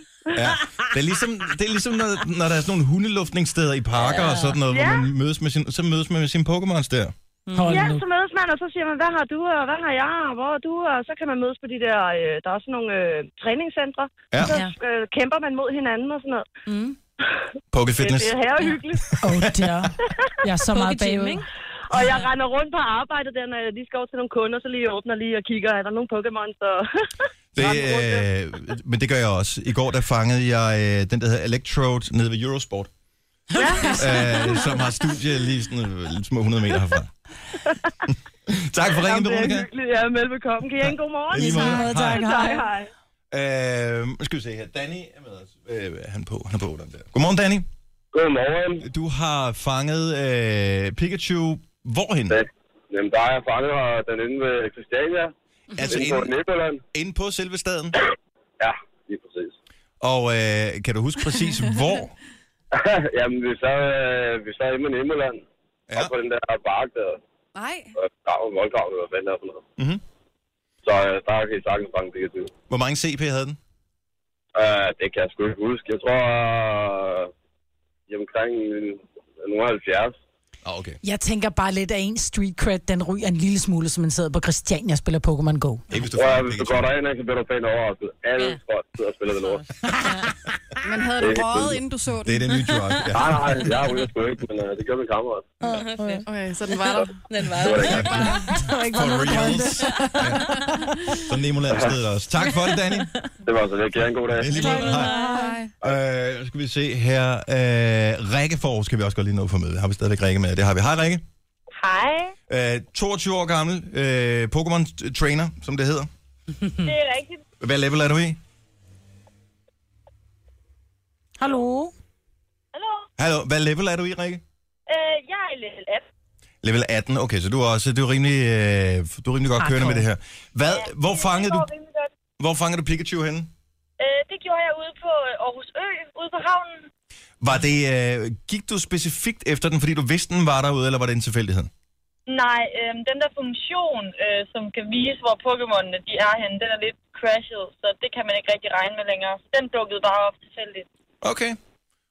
A: Ja. Det er ligesom, det er ligesom når, når der er sådan nogle hundeluftningssteder i parker ja. og sådan noget, hvor
G: Ja.
A: man mødes med sin, så mødes man med sine Pokémons der.
D: Mm.
J: Hold
G: Ja,
J: nu.
G: så mødes man, og så siger man, hvad har du, og hvad har jeg, og hvor er du, og så kan man mødes på de der, øh, der er også nogle øh, træningscentre.
A: Ja.
G: Så
D: Ja.
G: øh, kæmper man mod hinanden og sådan noget.
A: Poké Fitness.
G: Det er her hyggeligt.
J: Oh, dear. Jeg er så meget
D: Pokejim,
J: bagud.
D: ikke?
G: [LAUGHS] Og jeg render rundt på arbejdet der, når jeg lige skal over til nogle kunder, så lige åbner lige og kigger, er der [LAUGHS] nogle Pokémon, så...
A: Det,
G: Rende
A: øh, men det gør jeg også. I går der fangede jeg øh, den, der hedder Electrode, nede ved Eurosport. Ja. øh, som har studie lige sådan øh, små 100 meter
G: [LAUGHS]
A: herfra. tak for ringen,
G: Jamen, det er
A: Veronica.
G: hyggeligt. Ja, velbekomme. Kan I have en god morgen?
A: I lige måde.
J: Tak, tak.
A: Hej.
G: Hej, hej.
A: Øh, nu skal vi se her. Danny er med os. Øh, er han på, han er på den der. Godmorgen, Danny.
I: Godmorgen.
A: Du har fanget øh, Pikachu. Hvorhen?
I: Ja. Jamen, der er jeg fanget her, den inde ved Christiania.
A: Altså
I: Inde på
A: inde,
I: Næbberland.
A: inde på selve staden.
I: Ja, lige præcis.
A: Og øh, kan du huske præcis, hvor?
I: [LAUGHS] Jamen, vi sad, øh, vi sad hjemme i Næbberland. Ja.
A: Ja.
I: Oppe på den der park der.
B: Nej.
I: øh, Grav, voldgrav, eller hvad fanden er for noget.
A: Mhm.
I: Så øh, der kan I sagtens fange Pikachu.
A: Hvor mange CP havde den?
I: Øh, det kan jeg sgu ikke huske. Jeg tror, øh, i omkring øh, nu er 70.
A: Ah, okay.
C: Jeg tænker bare lidt, at en street cred, den ryger en lille smule, som man sidder på Christiania og spiller Pokémon Go.
J: Mm.
A: Ikke hvis du
I: Prøv
A: fanger
I: at, hvis du
A: Pikachu.
I: går derind, så bliver du pænt overrasket. Alle
D: Ja.
I: folk sidder og spiller det lort.
B: Men havde du røget, inden du så
A: Det er
B: den?
A: Ah, det nye [LAUGHS] drug. Ja.
I: Nej, nej, jeg ryger sgu ikke, men øh, det gør min kammerat.
B: Okay, så den var der.
D: Den var
I: Det var
D: der.
I: da ikke
A: For reals. Ja. Så Nemoland stedet også. Tak for det, [LAUGHS] Danny.
I: Det var så det. Kan I have en god dag.
A: Ja, lige måde.
B: Hej.
A: Hej. Øh, nu skal vi se her. Øh, Rikke Forår skal vi også godt lige nå for møde. Har vi stadigvæk Rikke med? Det har vi. Hej, Rikke.
G: Hej.
A: Øh, 22 år gammel. Øh, Pokémon Trainer, som det hedder. Mm.
G: Det er rigtigt.
A: Hvad level er du i?
J: Hallo?
G: Hallo.
A: Hallo, hvad level er du i, Rikke?
G: Øh, jeg er level 18.
A: Level 18. Okay, så du er også du er rimelig, øh, du er rimelig godt kørende med det her. Hvad, hvor, fangede du, hvor fangede du Pikachu henne?
G: Øh, det gjorde jeg ude på øh, Aarhus Ø, ude på havnen.
A: Var det, øh, gik du specifikt efter den, fordi du vidste, den var derude, eller var det en tilfældighed?
G: Nej, øh, den der funktion, øh, som kan vise, hvor Pokémon'ene de er henne, den er lidt crashed, så det kan man ikke rigtig regne med længere. Så den dukkede bare op tilfældigt.
A: Okay.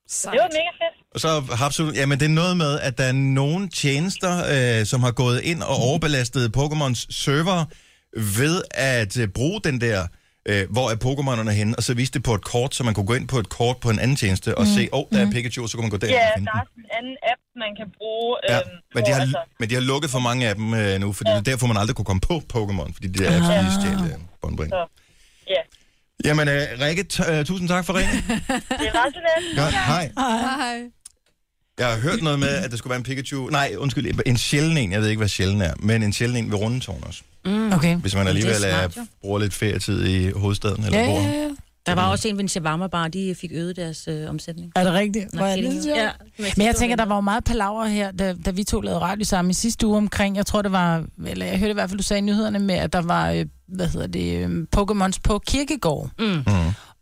G: Det var mega fedt.
A: Og så har absolut, jamen det er noget med, at der er nogle tjenester, øh, som har gået ind og
G: Mhm.
A: overbelastet Pokémons server ved at øh, bruge den der, øh, hvor er Pokémonerne henne, og så viste det på et kort, så man kunne gå ind på et kort på en anden tjeneste og mm. se, åh, oh, der er Pikachu, og så kunne man gå derhen
G: Mhm. Ja,
A: og finde den.
G: der er sådan en anden app, man kan bruge.
A: Ja,
G: øhm,
A: men de,
G: hvor,
A: har,
G: altså,
A: men de har lukket for mange af dem øh, nu, fordi det er derfor, man aldrig kunne komme på Pokémon, fordi de der apps, de stjal øh, båndbring.
G: Så, ja.
A: Jamen, øh, Rikke, t- øh, tusind tak for
G: [LAUGHS]
A: ringen.
G: Det var sådan lidt.
A: Godt, hej.
B: Hej.
A: Jeg har hørt noget med, at der skulle være en Pikachu. Nej, undskyld, en sjælden en. Jeg ved ikke, hvad sjælden er, men en sjælden en ved Rundetårn også.
C: Okay.
A: Hvis man alligevel
D: det er smart,
A: er,
D: jo. bruger
A: bruger lidt ferietid i hovedstaden, eller
C: Ja,
A: hvor.
C: ja, ja.
D: Der var også en ved en shawarma bar, de fik øget deres øh, omsætning.
C: Er det rigtigt? Hvor er det
D: kællinger.
C: sjovt.
D: Ja,
C: Men jeg tænker, der var jo meget palaver her, da, da vi to lavede radio sammen i sidste uge omkring, jeg tror det var, eller jeg hørte i hvert fald, du sagde i nyhederne med, at der var, øh, hvad hedder det, øh, Pokémons på kirkegård. Mm. Mm.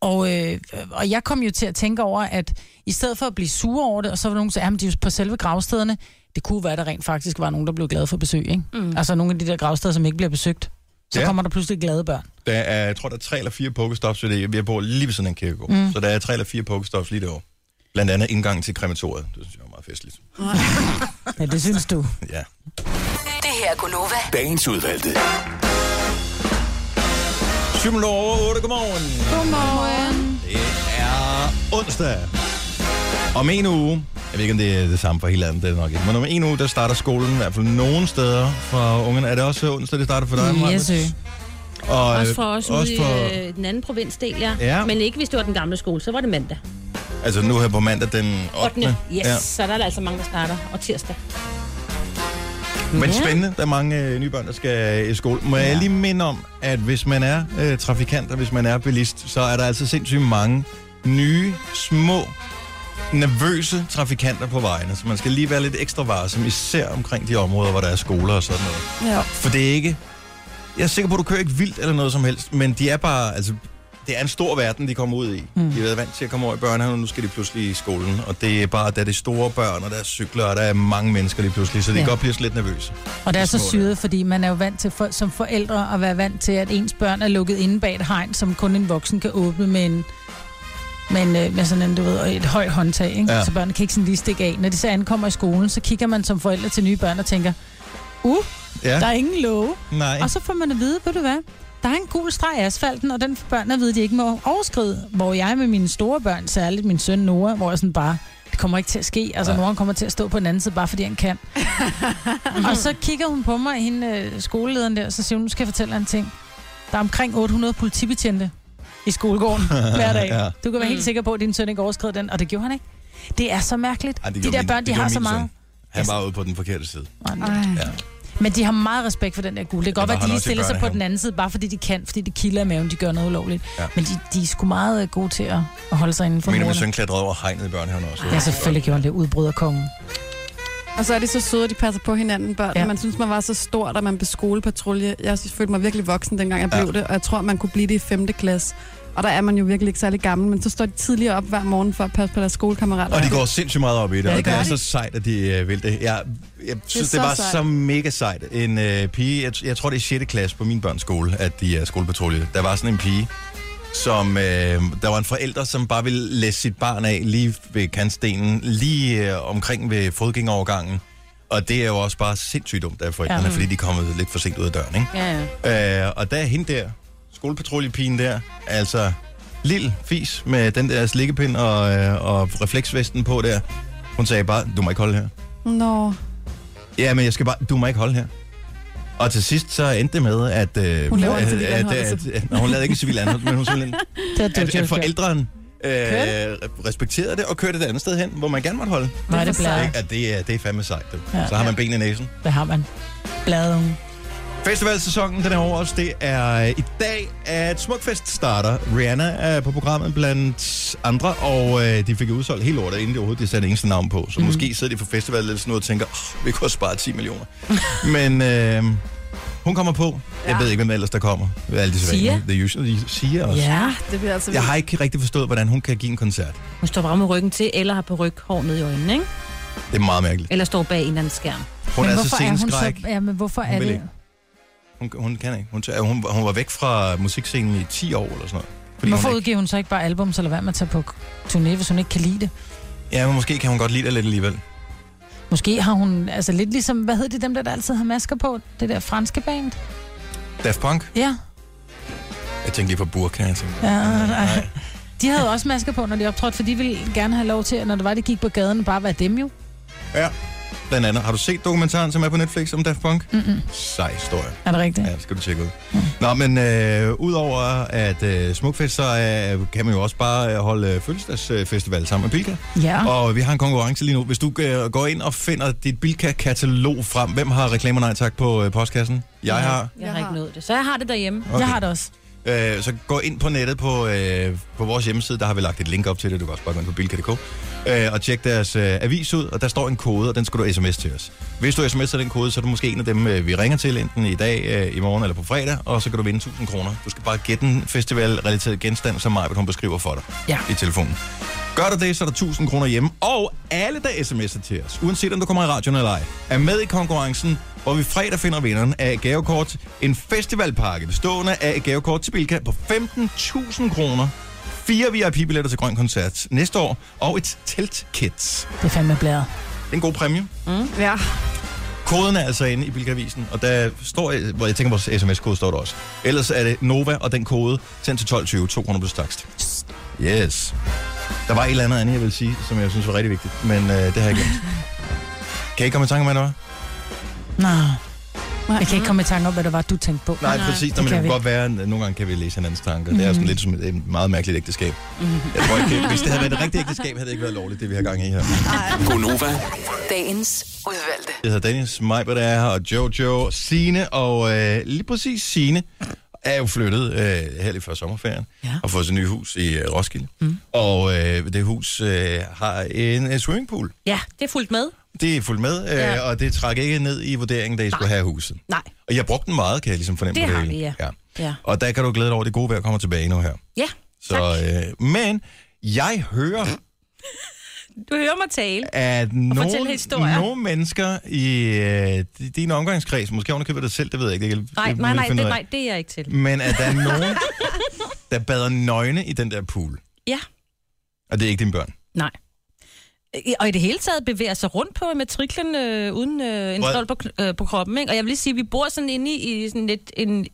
C: Og, øh, og jeg kom jo til at tænke over, at i stedet for at blive sure over det, og så var der nogen, der sagde, at de er jo på selve gravstederne, det kunne være, at der rent faktisk var nogen, der blev glade for besøg, ikke? Mm. Altså nogle af de der gravsteder, som ikke bliver besøgt. Så
A: Ja.
C: ja. kommer der pludselig glade børn.
A: Der er, jeg tror, der er tre eller fire pokestops ved det. Jeg bor lige ved siden af en kirkegård. Mm. Så der er tre eller fire pokestops lige derovre. Blandt andet indgang til krematoriet. Det synes jeg er meget festligt.
C: Ja, det synes du.
A: Ja.
E: Det her er Gunova.
H: Dagens udvalgte.
A: Syvende over 8, godmorgen.
B: Godmorgen.
A: Det er onsdag. Om en uge, jeg ved ikke, om det er det samme for hele landet, det er det nok ikke, men om en uge, der starter skolen i hvert fald nogle steder for ungerne. Er det også onsdag, det starter for dig? Maja?
C: Yes, øh.
A: Og,
D: Også for os
A: også
D: ude øh,
A: for,
D: i øh, den anden provinsdel, ja.
A: Ja.
D: Men ikke hvis det var den gamle skole, så var det mandag.
A: Altså nu her på mandag den 8.
D: 8. Yes, ja. så der er der altså mange, der starter. Og tirsdag.
A: Men
D: Ja.
A: spændende, der er mange øh, nye børn, der skal i skole. Må ja. jeg lige minde om, at hvis man er øh, trafikant, og hvis man er bilist, så er der altså sindssygt mange nye, små, nervøse trafikanter på vejene. Så man skal lige være lidt ekstra varsom, især omkring de områder, hvor der er skoler og sådan noget.
B: Ja.
A: For det er ikke... Jeg er sikker på, at du kører ikke vildt eller noget som helst, men de er bare... Altså, det er en stor verden, de kommer ud i. Mm. De har været vant til at komme over i børnehaven, og nu skal de pludselig i skolen. Og det er bare, der er det store børn, og der er cykler, og der er mange mennesker lige pludselig, så de
C: Ja.
A: ja. godt bliver sådan lidt nervøse.
C: Og det er
A: De
C: så
A: små der.
C: syret, fordi man er jo vant til for, som forældre at være vant til, at ens børn er lukket inde bag et hegn, som kun en voksen kan åbne med en med, en, øh, med sådan en, du ved, et højt håndtag, ikke?
A: Ja.
C: Ja. så børnene kan ikke sådan lige stikke af. Når de så ankommer i skolen, så kigger man som forældre til nye børn og tænker, uh,
A: Ja.
C: ja. der er ingen love.
A: Nej.
C: Og så får man at vide, ved du hvad, der er en gul streg i asfalten, og den får børnene at vide, de ikke må overskride. Hvor jeg med mine store børn, særligt min søn Nora, hvor jeg sådan bare, det kommer ikke til at ske. Altså,
A: Nej.
C: moren kommer til at stå på den anden side, bare fordi han
A: [LAUGHS]
C: kan. og så kigger hun på mig, hende øh, skolelederen der, og så siger hun, nu skal jeg fortælle dig en ting. Der er omkring 800 politibetjente i
A: [LAUGHS]
C: skolegården hver dag.
A: Ja. Mm.
C: ja. Du kan være helt sikker på, at din søn ikke overskred den, og det gjorde han ikke. Det er så mærkeligt.
A: Ej,
C: Ej,
A: det
C: de
A: gjorde
C: der
A: min-
C: børn,
A: det
C: de har
A: gjorde
C: så
A: min søn.
C: meget.
A: Han var ude på den forkerte side.
B: Ej.
A: Ja.
C: Men de har meget respekt for den der guld. Det kan godt
A: var
C: være, at de
A: han
C: lige
A: også i
C: stiller sig på
A: børnehaven.
C: den anden side, bare fordi de kan, fordi det kilder i maven, de gør noget ulovligt.
A: Ja.
C: Ja. Men de, de er sgu meget øh, gode til at, at holde sig inden for
A: Min og min
C: murene.
A: søn klatrede over hegnet i børnehaven også.
C: Ja, selvfølgelig gjorde han det, udbryderkongen.
B: Og så er de så søde, at de passer på hinanden, børn. Ja.
C: Ja.
B: Man synes, man var så stor, da man blev skolepatrulje. Jeg synes, følte mig virkelig voksen, dengang jeg blev
A: Ja.
B: ja. det, og jeg tror, man kunne blive det i 5. klasse. Og der er man jo virkelig ikke særlig gammel, men så står de tidligere op hver morgen for at passe på deres skolekammerater.
A: Og de går sindssygt meget op i det, ja,
B: det
A: det og det
B: gør
A: er
B: de.
A: så sejt, at de øh, vil det. Jeg, jeg synes, det,
B: så
A: det var
B: sejt.
A: så mega sejt. En øh, pige, jeg, jeg tror, det er 6. klasse på min børns skole, at de er skolepatrulje. Der var sådan en pige, som, øh, der var en forælder, som bare ville læse sit barn af lige ved kantstenen, lige øh, omkring ved fodgængerovergangen. Og det er jo også bare sindssygt dumt af forældrene, ja.
C: Ja.
A: fordi de er kommet lidt for sent ud af døren, ikke?
D: Ja, ja.
A: Øh, og der er hende der, skolepatruljepigen der, altså lille fis med den der slikkepind og, øh, og refleksvesten på der. Hun sagde bare, du må ikke holde her.
B: Nå,
A: Ja, men jeg skal bare, du må ikke holde her. Og til sidst så endte det med, at... Øh,
B: Hun laver en
A: at-
B: civil
A: at-
B: anholdelse.
A: at- at- Nå, hun lavede ikke en civil anholdelse, men hun simpelthen...
C: Det er
A: At, at
C: dødt,
A: forældren øh, respekterede det og kørte det andet sted hen, hvor man gerne måtte holde.
C: Hvor er det bladet?
A: Ikke? At det, er, det er fandme sejt. du.
C: Ja.
A: så har man ben i næsen.
C: Hvad har man? Bladet.
A: Festivalsæsonen, den er over os. Det er øh, i dag, at Smukfest starter. Rihanna er på programmet blandt andre, og øh, de fik jo udsolgt hele lortet, inden de overhovedet de satte eneste navn på.
C: Mhm.
A: Så mm. måske sidder de for festivalledelsen nu og tænker, oh, vi kunne have sparet 10 millioner. [LAUGHS] Men øh, hun kommer på. Jeg ved ikke, hvem ellers der kommer. Alle de sædvanlige. The usual. Sia også.
D: Ja,
B: det bliver altså...
A: Jeg har ikke rigtig forstået, hvordan hun kan give en koncert.
D: hun står bare med ryggen til, eller har på ryg hår ned i øjnene, ikke?
A: Det er meget mærkeligt.
D: Eller står bag en eller anden skærm.
A: Hun er altså
C: hun
A: sceneskræk.
C: så... Ja, men hvorfor
A: Hun
C: er
A: vil
C: det...
A: ikke. Hun, hun kan ikke. Hun, tør- hun, hun var væk fra musikscenen i 10 år eller sådan noget. Fordi hun
C: Hvorfor
A: ikke-
C: udgiver hun så ikke bare album, så lad være med at tage på turné, hvis hun ikke kan lide det?
A: Ja, men måske kan hun godt lide det lidt alligevel.
C: Måske har hun, altså lidt ligesom, hvad hedder det, dem der, der altid har masker på? Det der franske band?
A: Daft Punk?
C: Ja.
A: Jeg tænkte lige på burka, jeg tænkte.
C: Ja,
A: nej,
C: nej. De havde jo også masker på, når de optrådte, for de ville gerne have lov til, at når det var, de gik på gaden, bare være dem jo.
A: Ja. Blandt andet. Har du set dokumentaren, som er på Netflix om Daft Punk? Mm-mm. Sej historie.
C: Er det rigtigt?
A: Ja, det skal du tjekke ud. Nå, men øh, udover at øh, Smukfest, så øh, kan man jo også bare øh, holde øh, fødselsdagsfestival sammen med Bilka.
C: Ja.
A: Og vi har en konkurrence lige nu. Hvis du øh, går ind og finder dit Bilka-katalog frem, hvem har reklamer nej tak på øh, postkassen? Jeg har.
D: Jeg har ikke nået det. Så jeg har det derhjemme.
A: Okay.
C: Okay. Jeg har det også.
A: Øh, så gå ind på nettet på, øh, på vores hjemmeside, der har vi lagt et link op til det, du kan også bare gå ind på bilka.dk, øh, og tjek deres øh, avis ud, og der står en kode, og den skal du sms til os. Hvis du sms'er den kode, så er du måske en af dem, øh, vi ringer til, enten i dag, øh, i morgen eller på fredag, og så kan du vinde 1000 kroner. Du skal bare gætte en festivalrelateret genstand, som Maja, hun beskriver for dig
C: Ja.
A: i telefonen. Gør du det, så er der 1000 kroner hjemme, og alle, der sms'er til os, uanset om du kommer i radioen eller ej, er med i konkurrencen, hvor vi fredag finder vinderen af et gavekort, en festivalpakke bestående af et gavekort til Bilka på 15.000 kroner, fire VIP-billetter til Grøn Koncert næste år, og et teltkit. Det
C: Det er fandme blæret.
A: er en god præmie.
B: Ja.
A: Koden er altså inde i Bilka-avisen, og der står, øh, hvor jeg tænker, vores sms-kode står der også. Ellers er det Nova og den kode, sendt til 1220, 200 plus takst. Yes. Der var et eller andet andet, jeg ville sige, som jeg synes var rigtig vigtigt, men øh, det har jeg glemt. kan I ikke komme i tanke om, hvad det var?
C: Nå.
K: Jeg kan ikke komme i tanke om, hvad det var, du tænkte på.
A: Nej, præcis. Nå, men det kan godt være, at nogle gange kan vi læse hinandens tanker. Mm-hmm. Det er sådan lidt som et, et meget mærkeligt ægteskab. Mm-hmm. Jeg tror ikke, hvis det havde været et rigtigt ægteskab, havde det ikke været lovligt, det vi har gang i her.
H: Gonova.
E: Dagens udvalgte.
A: Jeg hedder Dennis, Majbert er her, og Jojo, Sine og øh, lige præcis Sine er jo flyttet øh, her lige før sommerferien ja. og fået sit nye hus i øh, Roskilde. Mm. Og øh, det hus øh, har en, en swimmingpool.
D: Ja, det er fuldt med.
A: Det er fuldt med, øh, ja.
D: Ja.
A: og det trak ikke ned i vurderingen, da I skulle have huset.
D: Nej,
A: Og jeg brugte den meget, kan jeg ligesom fornemme
D: det
A: på
D: har
A: hele.
D: vi, ja.
A: ja.
D: Ja,
A: Og der kan du glæde dig over, at det gode vejr kommer tilbage nu her.
D: ja.
A: Så, øh, men jeg hører,
D: du hører mig tale.
A: at nogle,
D: historier.
A: nogle mennesker i øh, di- din omgangskreds, måske hun køber det selv, det ved jeg ikke. Det kan,
D: Nej,
A: det
D: nej,
A: vil
D: nej,
A: finde
D: det,
A: ud af.
D: nej, det er jeg ikke til.
A: Men at der er
D: [LAUGHS]
A: nogen, der bader nøgne i den der pool.
D: Ja,
A: Og det er ikke dine børn.
D: nej. I- Og i det hele taget bevæger sig rundt på matriklen øh, uden øh, en
A: Hvor-
D: stol på, kn- øh, på kroppen. Ikke? Og jeg vil lige sige, at vi bor sådan inde i, i sådan lidt en,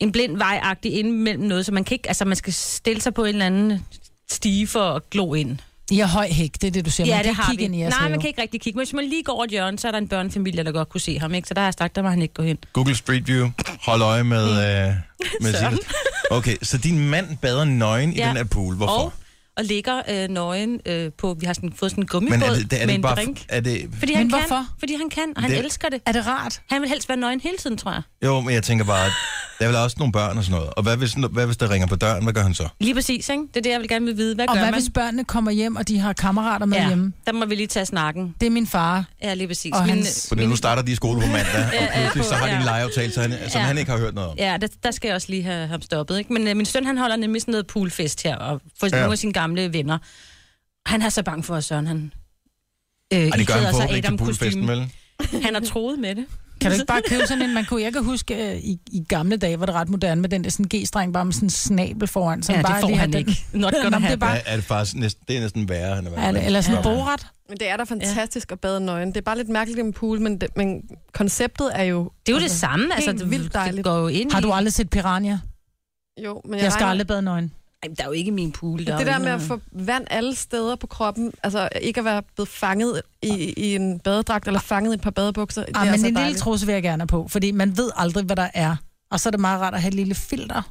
D: en blind vejagtig inde mellem noget, så man kan ikke, altså man skal stille sig på en eller anden stige for at glo ind.
C: I har høj hæk, det er det, du siger.
D: ja,
C: man
D: det
C: kan ikke
D: har
C: kigge
D: vi.
C: ind i jeres
D: Nej,
C: have.
D: man kan ikke rigtig kigge. Men hvis man lige går over et hjørne, så er der en børnefamilie, der godt kunne se ham. Ikke? Så der har jeg sagt, der må han ikke gå hen.
A: Google Street View, hold øje med,
D: Mm.
A: øh, med Sigurd. Okay, så din mand bader nøgen ja. i
D: Ja.
A: den her pool. Hvorfor?
D: Og, og ligger øh, nøgen øh, på... Vi har sådan, fået sådan en gummibåd
A: men er det, det, er det ikke
D: med en
A: bare...
D: drink.
A: Er det,
D: Fordi han
C: Men
D: kan,
C: hvorfor?
D: Fordi han kan, og han
A: Det-
D: det... elsker det.
C: Er det rart?
D: Han vil helst være nøgen hele tiden, tror jeg.
A: jo, men jeg tænker bare, at der er vel også nogle børn og sådan noget. Og hvad hvis, hvad hvis der ringer på døren? Hvad gør han så?
D: Lige præcis, ikke? Det er det, jeg vil gerne vil vide. Hvad
C: Og
D: gør
C: hvad
D: man?
C: hvis børnene kommer hjem, og de har kammerater med
D: ja,
C: hjemme?
D: der må vi lige tage snakken.
C: Det er min far.
D: Ja, lige præcis.
C: Og
D: Min-
C: hans-
A: Fordi nu starter de i skole på mandag, og
D: ja,
A: pludselig så har de en
D: ja.
A: legeaftale, så han, som
D: Ja.
A: han ikke har hørt noget om.
D: Ja, der, der skal jeg også lige have ham stoppet, ikke? Men øh, min søn, han holder nemlig sådan noget poolfest her, og for
A: Ja.
D: ja. nogle af sine gamle venner. Han er så bange for, at Søren, han... Øh,
A: Og Ah, det gør
D: iklæder
A: han
D: sig
C: altså
A: forhåbentlig ikke til
D: Adam-kostume.
A: poolfesten, vel?
D: Han har troet med det.
C: Kan du ikke
D: [LAUGHS]
C: bare købe sådan en? Man kunne, jeg kan huske, øh, i, i gamle dage var det ret moderne med den der sådan G-streng, bare med sådan en snabel foran. Som
D: Ja, det
C: bare
D: får
C: lige har
D: han
C: den-
D: ikke. Not gonna
C: Nå, men det er
D: happen.
C: bare,
A: Er, er det, faktisk næsten, det er næsten værre, han er været
C: er det,
A: med.
C: eller sådan en
A: Ja.
C: boret.
B: Men det er da fantastisk at bade nøgen. Det er bare lidt mærkeligt i en pool, men, det, men konceptet er jo...
D: Det er jo det samme, altså.
B: helt
D: det-
B: vildt
D: Det
B: dejligt.
D: går jo ind
C: Har du
D: i-
C: aldrig set piranha?
B: Jo, men jeg,
C: Jeg skal
B: regner-
C: aldrig bade nøgen.
D: Ej, men der er jo ikke min pool. Der er
B: Det
D: jo
B: der
D: ikke
B: med at
D: noget-
B: få vand alle steder på kroppen, altså ikke at være blevet fanget i, i en badedragt eller fanget i et par badebukser, det er
C: Ah, men
B: altså
C: en lille
B: dejligt.
C: trusse vil jeg gerne have på, fordi man ved aldrig, hvad der er. Og så er det meget rart at have et lille filter.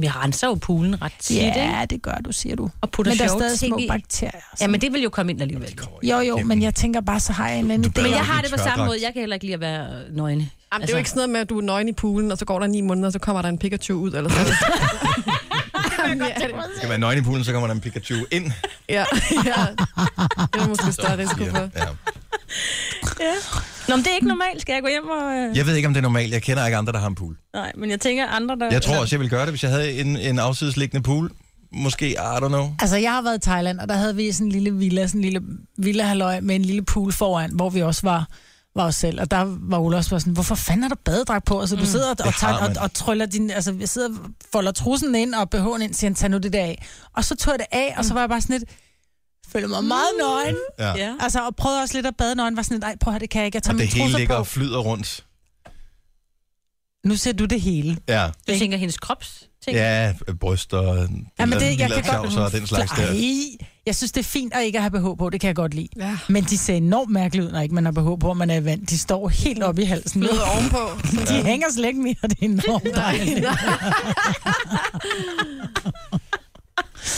D: Vi renser jo poolen ret tit, ikke?
C: Ja, det gør du, siger du.
D: Og putter
C: Men der er
D: sjove
C: stadig
D: ting
C: små
D: i.
C: bakterier.
D: Ja, men det vil jo komme ind alligevel.
C: Jo, jo, men jeg tænker bare, så har jeg en eller anden
A: Du bader
C: idé.
D: Men
A: jo
D: jeg
A: ikke i
D: har det på samme
A: tørdragt.
D: måde. Jeg kan heller ikke lide at være øh, nøgne.
B: Jamen, det er jo
D: Altså-
B: ikke sådan noget med, at du er nøgen i poolen, og så går der ni måneder, og så kommer der en Pikachu ud, eller sådan noget. Jamen, ja, det-
A: Det skal være nøgen i poolen, så kommer der en Pikachu ind.
B: ja, ja, det er måske større risiko for.
A: Ja.
D: Nå, men det er ikke normalt. Skal jeg gå hjem og... øh,
A: Jeg ved ikke, om det er normalt. Jeg kender ikke andre, der har en pool.
D: Nej, men jeg tænker andre, der...
A: Jeg tror også, jeg ville gøre det, hvis jeg havde en, en afsidesliggende pool. Måske, I don't know.
C: Altså, jeg har været i Thailand, og der havde vi sådan en lille villa, sådan en lille villa med en lille pool foran, hvor vi også var, var os selv. Og der var Ole også bare sådan, hvorfor fanden er der badedragt på? Altså, du sidder og, og,
A: Mm. har
C: tager, og,
A: man.
C: og tryller din, altså, jeg sidder og folder trussen ind og BH'en ind, siger han, tag nu det der af. Og så tog jeg det af,
A: Mm.
C: og så var jeg bare sådan lidt, føler mig meget nøgen.
A: Ja.
D: Ja.
C: Altså, og prøvede også lidt at bade nøgen, var sådan lidt, nej, prøv at høre, det kan jeg ikke, jeg tager
A: Og
C: min
A: det hele
C: trusser
A: ligger
C: på.
A: og flyder rundt.
C: Nu ser du det hele.
A: Ja.
D: Du tænker hendes krops ting.
A: Ja, bryster, ja,
C: men
A: men det,
C: det- jeg
A: lille
C: kan godt-
A: tavser og den slags der.
C: Ej, jeg synes, det er fint at ikke at have BH på, det kan jeg godt lide.
B: Ja.
C: Men de ser enormt mærkeligt ud, når ikke man har behov på, at man er i vand. De står helt oppe i halsen.
B: Blød ovenpå.
C: [LAUGHS] De hænger slet ikke mere, det er enormt dejligt.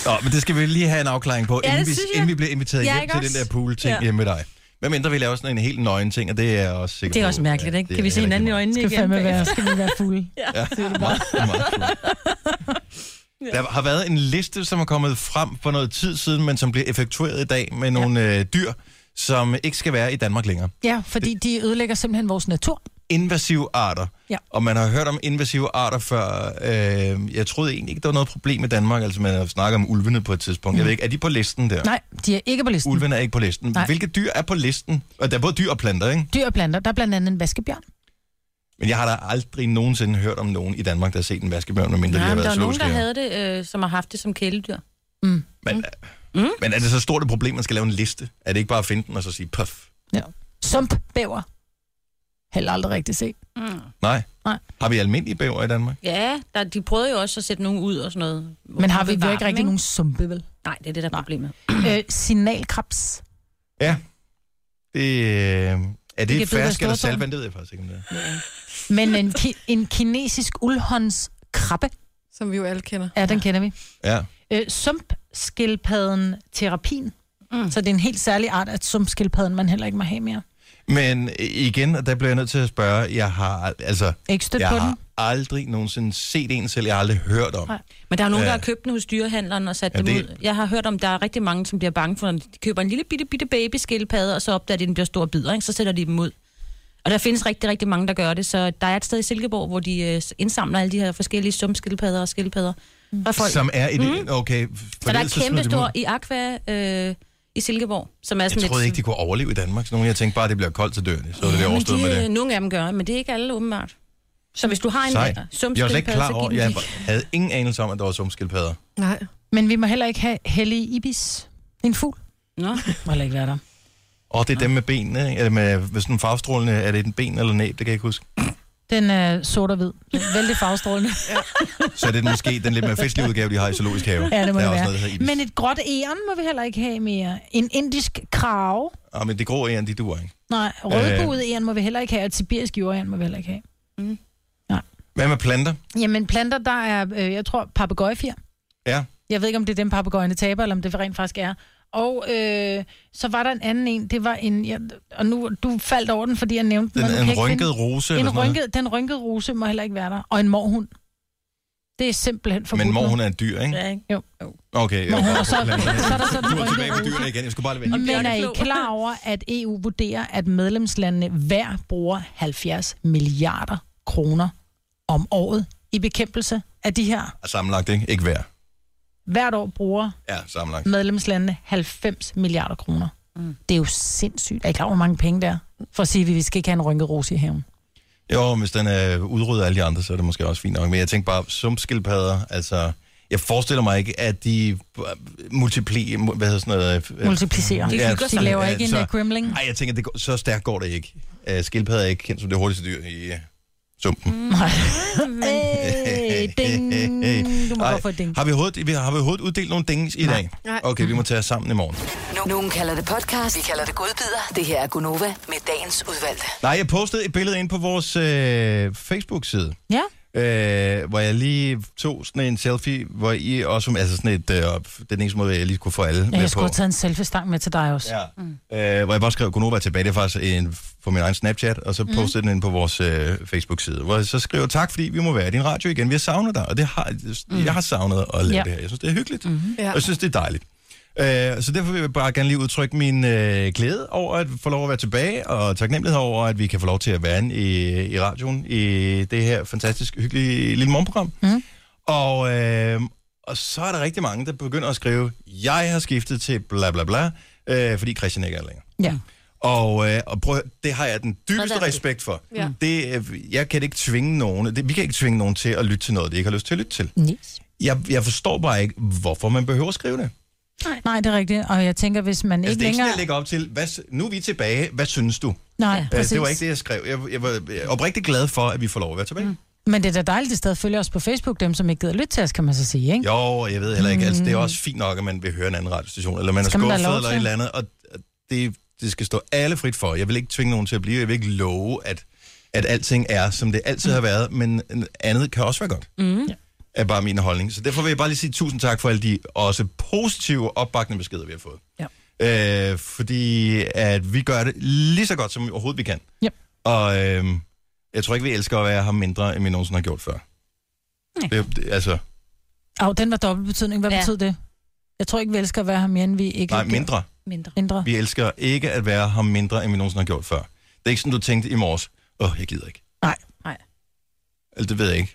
A: Nå, men det skal vi lige have en afklaring på,
D: Ja,
A: ja, inden,
D: det
A: vi,
D: synes jeg.
A: inden vi bliver inviteret
D: Ja,
A: hjem
D: ikke
A: til
D: også?
A: den der pool-ting ja.
D: Ja.
A: hjemme med dig. Hvad mindre vi laver sådan en helt nøgen ting, og det er jeg også sikker
D: Det er
A: på,
D: også mærkeligt,
A: at
D: ikke?
A: det
D: Kan vi
A: er
D: se hinanden i
A: rigtig
D: øjnene
C: Skal
D: igen?
C: fandme være,
D: bagefter?
C: skal vi være fulde.
D: [LAUGHS]
A: meget- det er meget sjovt. Der har været en liste, som er kommet frem for noget tid siden, men som bliver effektueret i dag med nogle øh, dyr, som ikke skal være i Danmark længere.
C: [LAUGHS] Ja, fordi de ødelægger simpelthen vores natur.
A: invasive arter.
C: Ja.
A: Og man har hørt om invasive arter før. Øh, jeg troede egentlig ikke, der var noget problem i Danmark. Altså, man har snakket om ulvene på et tidspunkt.
D: Mm.
A: Jeg ved ikke, er de på listen der?
C: Nej, de er ikke på listen.
A: Ulvene er ikke på listen.
C: Nej.
A: Hvilke dyr er på listen? Og der er både dyr og planter, ikke?
C: Dyr og planter. Der er blandt andet en vaskebjørn.
A: Men jeg har da aldrig nogensinde hørt om nogen i Danmark, der har set en vaskebjørn, medmindre de
D: Nej,
A: har
D: men
A: været
D: der er nogen,
A: zoologiske
D: der
A: haver.
D: havde det, øh, som har haft det som kæledyr.
A: Men, mm. men er det så stort et problem, man skal lave en liste? Er det ikke bare at finde den og så sige, puff?
C: Sump bæver. Heller aldrig rigtig set.
A: Nej.
C: Nej.
A: Har vi almindelige bæver i Danmark?
D: Ja, der, de prøvede jo også at sætte nogen ud og sådan noget.
C: Men har vi
D: Bevare
C: jo ikke
D: dem,
C: rigtig nogen sumpe, [CLEARS THROAT] vel?
D: Nej, det er det, der er problemet.
C: øh, signalkrebs.
A: Det, øh, Er det,
C: Det kan
A: det
C: du da
A: fersk eller
C: stå for.
A: salvand? Det ved jeg faktisk ikke, om det er.
C: Men en, ki- en kinesisk uldhåndskrabbe.
B: Som vi jo alle kender.
C: Ja, den kender vi.
A: Ja.
C: Øh, sumpskildpadden terapin. Mm. Så det er en helt særlig art af sumpskildpadden, man heller ikke må have mere.
A: Men igen, og der bliver jeg nødt til at spørge, jeg har, al- altså,
C: Ikke stødt
A: jeg
C: på
A: har
C: den?
A: aldrig nogensinde set en selv, jeg har aldrig hørt om.
D: Nej. Men der er nogen,
A: Ja.
D: der har købt den hos dyrehandleren og sat
A: Ja,
D: ja, dem
A: det-
D: ud. Jeg har hørt om, der er rigtig mange, som bliver bange for, at de køber en lille bitte, bitte babyskildpadde, og så opdager de, at den bliver stor bidder, ikke? så sætter de dem ud. Og der findes rigtig, rigtig mange, der gør det, så der er et sted i Silkeborg, hvor de øh, indsamler alle de her forskellige sumskildpadder og skildpadder. Mm. Folk.
A: Som er et... Mm. Okay, for
D: så der er
A: ellers smider
D: kæmpe
A: de dem ud.
D: stor i Aqua øh, i Silkeborg, som er sådan
A: Jeg troede
D: et...
A: ikke, de kunne overleve i Danmark. Så nogen, jeg tænkte bare, at det bliver koldt til dørene. Så er det der
D: Men
A: overstået med
D: de,
A: det.
D: øh, nogle af dem gør, men det er ikke alle åbenbart. Så hvis du har en
A: Sej.
D: sumskildpadde,
A: Jeg var slet ikke klar
D: så giv
A: over,
D: den
A: jeg
D: lige-
A: havde ingen anelse om, at der var sumskildpadder.
B: Nej.
C: Men vi må heller ikke have hellig ibis. Det er en fugl.
D: Nå.
C: Må heller ikke være der.
A: Og det er dem med benene, ikke? Eller med, med sådan en farvestrålende, er det en ben eller næb, det kan jeg ikke huske.
C: Den er sort og hvid. Vældig farvestrålende.
A: Så er det den måske den lidt mere festlige udgave, de har i zoologisk have.
C: ja, det må
A: der
C: det
A: er
C: være.
A: også noget, der hedder ibis.
C: Men et gråt æren må vi heller ikke have mere. En indisk krave.
A: Ah, men det grå æren, de duer ikke.
C: Nej, rødbuet æren må vi heller ikke have, og et sibirisk jordæren må vi heller ikke have.
A: Hvad med planter?
C: Jamen planter, der er, øh, jeg tror, papegøjefjer.
A: Ja.
C: Jeg ved ikke, om det er dem, papegøjerne taber, eller om det rent faktisk er. Og øh, så var der en anden en, det var en, jeg, og nu, du faldt over den, fordi jeg nævnte
A: Den,
C: men nu kan
A: en
C: jeg ikke
A: rynket
C: finde-
A: rose eller sådan
C: en
A: noget.
C: rynket, Den rynkede rose må heller ikke være der. Og en morhund. Det er simpelthen forbudt.
A: Men mor,
C: nu.
A: hun er et dyr, ikke?
D: Ja, ikke?
C: Jo.
A: Okay,
C: Mor,
A: jeg
C: hun
A: var
C: er så,
A: bare på planterne.
C: så er der sådan
A: Du er
C: en
A: tilbage med
C: rynket
A: dyrene igen. Jeg skulle bare lade være.
C: Men er I
D: Bjørneflog.
C: klar over, at EU vurderer, at medlemslandene hver bruger 70 milliarder kroner om året i bekæmpelse af de her?
A: Sammenlagt, ikke? Ikke hver.
C: Hvert år bruger
A: Ja, sammenlagt.
C: medlemslandene 90 milliarder kroner. Mm. Det er jo sindssygt. Er I klar, over, hvor mange penge der er? For at sige, at vi skal ikke have en rynket rose i haven.
A: Jo, hvis den er udryddet af alle de andre, så er det måske også fint nok. Men jeg tænker bare, sumpskildpadder, altså... Jeg forestiller mig ikke, at de øh, multipli... mu- Hvad hedder sådan noget? øh, øh,
C: Multiplicerer.
A: ja,
C: De laver
A: ja,
C: ikke en
A: så-
C: øh, gremling.
A: Nej, jeg tænker, det går, så stærkt går det ikke. Uh, skildpadder er ikke kendt som det hurtigste dyr i uh, sumpen. [LAUGHS] Mm.
C: Nej. Hey, ding. Du må godt få et ding.
A: Har vi overhovedet, vi har, har vi overhovedet uddelt nogle dings i dag?
B: Nej.
A: Okay, vi må tage os sammen i morgen.
E: Nu- Nogen kalder det podcast, vi kalder det godbider. Det her er Gunova med dagens udvalgte.
A: Nej, jeg postede et billede ind på vores øh, Facebook-side.
C: Ja.
A: øh, hvor jeg lige tog sådan en selfie, hvor I også, altså sådan et, øh, den eneste måde, jeg lige kunne få alle
C: Ja,
A: med
C: jeg
A: på.
C: skulle have taget en selfie-stang med til dig også.
A: Ja. Mm. Øh, hvor jeg bare skrev, Gunova er tilbage, det er faktisk en, på min egen Snapchat, og
C: Mm.
A: så postede den ind på vores øh, Facebook-side, hvor jeg så skriver, tak fordi vi må være i din radio igen, vi har savnet dig, og det har, mm. jeg har savnet at lave
C: Ja.
A: det her. Jeg synes, det er hyggeligt, mm-hmm.
B: Ja.
A: og jeg synes, det er dejligt. Øh, så derfor vil jeg bare gerne lige udtrykke min øh, glæde over at få lov at være tilbage, og taknemmelighed over, at vi kan få lov til at være inde i, i radioen i det her fantastisk hyggelige lille morgenprogram. Mm. Og, øh, og så er der rigtig mange, der begynder at skrive, jeg har skiftet til bla bla bla, øh, fordi Christian ikke er der længere.
C: Ja.
A: Og, øh, og prøv, at høre, det har jeg den dybeste
D: Sådan.
A: respekt for.
B: Ja.
A: Det, øh, jeg kan ikke tvinge nogen, det, vi kan ikke tvinge nogen til at lytte til noget, de ikke har lyst til at lytte til.
C: Yes.
A: Jeg, jeg forstår bare ikke, hvorfor man behøver at skrive det.
C: Nej, det er rigtigt. Og jeg tænker, hvis man
A: Altså,
C: ikke
A: det er ikke
C: længere...
A: sådan, jeg lægger op til, hvad, s- nu er vi tilbage, hvad synes du?
C: Nej,
A: Øh,
C: præcis.
A: det var ikke det, jeg skrev. Jeg, jeg var øh, oprigtigt glad for, at vi får lov at være tilbage. Mm.
C: Men det er da dejligt, at de stadig følger os på Facebook, dem som ikke gider lytte til os, kan man så sige, ikke?
A: Jo, og jeg ved heller ikke, altså, det er også fint nok, at man vil høre en anden radiostation, eller man er
C: Skal man da
A: skuffet
C: lov
A: eller
C: til?
A: et eller andet, og og det, det skal stå alle frit for. Jeg vil ikke tvinge nogen til at blive, jeg vil ikke love, at, at alting er, som det altid har været, men andet kan også være godt.
C: Mm-hmm.
A: Mm. Er bare min holdning. Så derfor vil jeg bare lige sige tusind tak for alle de også positive, opbakkende beskeder, vi har fået. Ja. Øh, fordi at vi gør det lige så godt, som overhovedet vi kan.
C: Ja.
A: Og øh, jeg tror ikke, vi elsker at være her mindre, end vi nogensinde har gjort før.
D: Nej.
A: Det, det, altså,
C: Au, den var dobbeltbetydning. Hvad ja.
D: Ja.
C: betød det? Jeg tror ikke, vi elsker at være her mere, end vi ikke
A: nej,
C: har gjort.
A: mindre.
D: Mindre.
C: mindre.
A: Vi elsker ikke at være her mindre, end vi nogensinde har gjort før. Det er ikke sådan, du tænkte i morges, åh, oh, jeg gider ikke.
C: Nej.
D: Nej.
A: Eller det ved jeg ikke.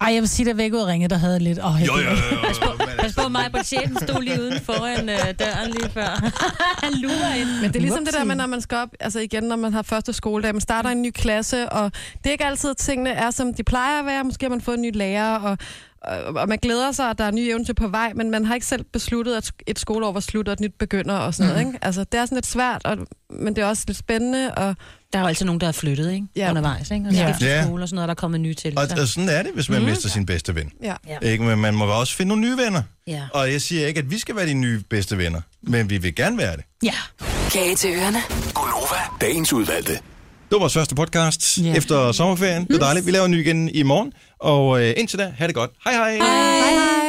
C: Ej, jeg vil sige, der væk ud ringe, der havde lidt... Åh, jeg
A: Jo, jo,
C: gider
A: jo.
C: ikke.
A: jo, jo men
D: Pas
A: altså,
D: på mig, på chefen stod lige uden foran øh, døren lige før. Han lurer ind.
B: Men det er ligesom det der med, når man skal op, altså igen, når man har første skoledag, man starter en ny klasse, og det er ikke altid, at tingene er, som de plejer at være. Måske har man fået en ny lærer, og, og, og man glæder sig, at der er nye eventyr på vej, men man har ikke selv besluttet, at et skoleår var slut, og et nyt begynder og sådan noget. Ikke? Altså, det er sådan lidt svært, og, men det er også lidt spændende, og
D: Der er jo altid nogen, der er flyttet, ikke?
B: Ja.
D: Ja. Undervejs, ikke? Og så
C: Ja.
D: skiftet
A: Ja.
D: skole og sådan noget, og der er kommet nye til.
A: og,
D: så.
A: og sådan er det, hvis man mm, mister sin bedste ven.
B: ja.
D: Altså. Ja.
A: Ikke? Men man må også finde nogle nye venner.
D: Ja.
A: Og jeg siger ikke, at vi skal være de nye bedste venner, men vi vil gerne være det.
C: Ja.
E: Kage til ørerne.
H: Gunova, dagens udvalgte.
A: Det var vores første podcast yeah. efter sommerferien. Det var dejligt. Vi laver en ny igen i morgen. Og øh, indtil da, have det godt. Hej hej. hej.
C: Hej, hej.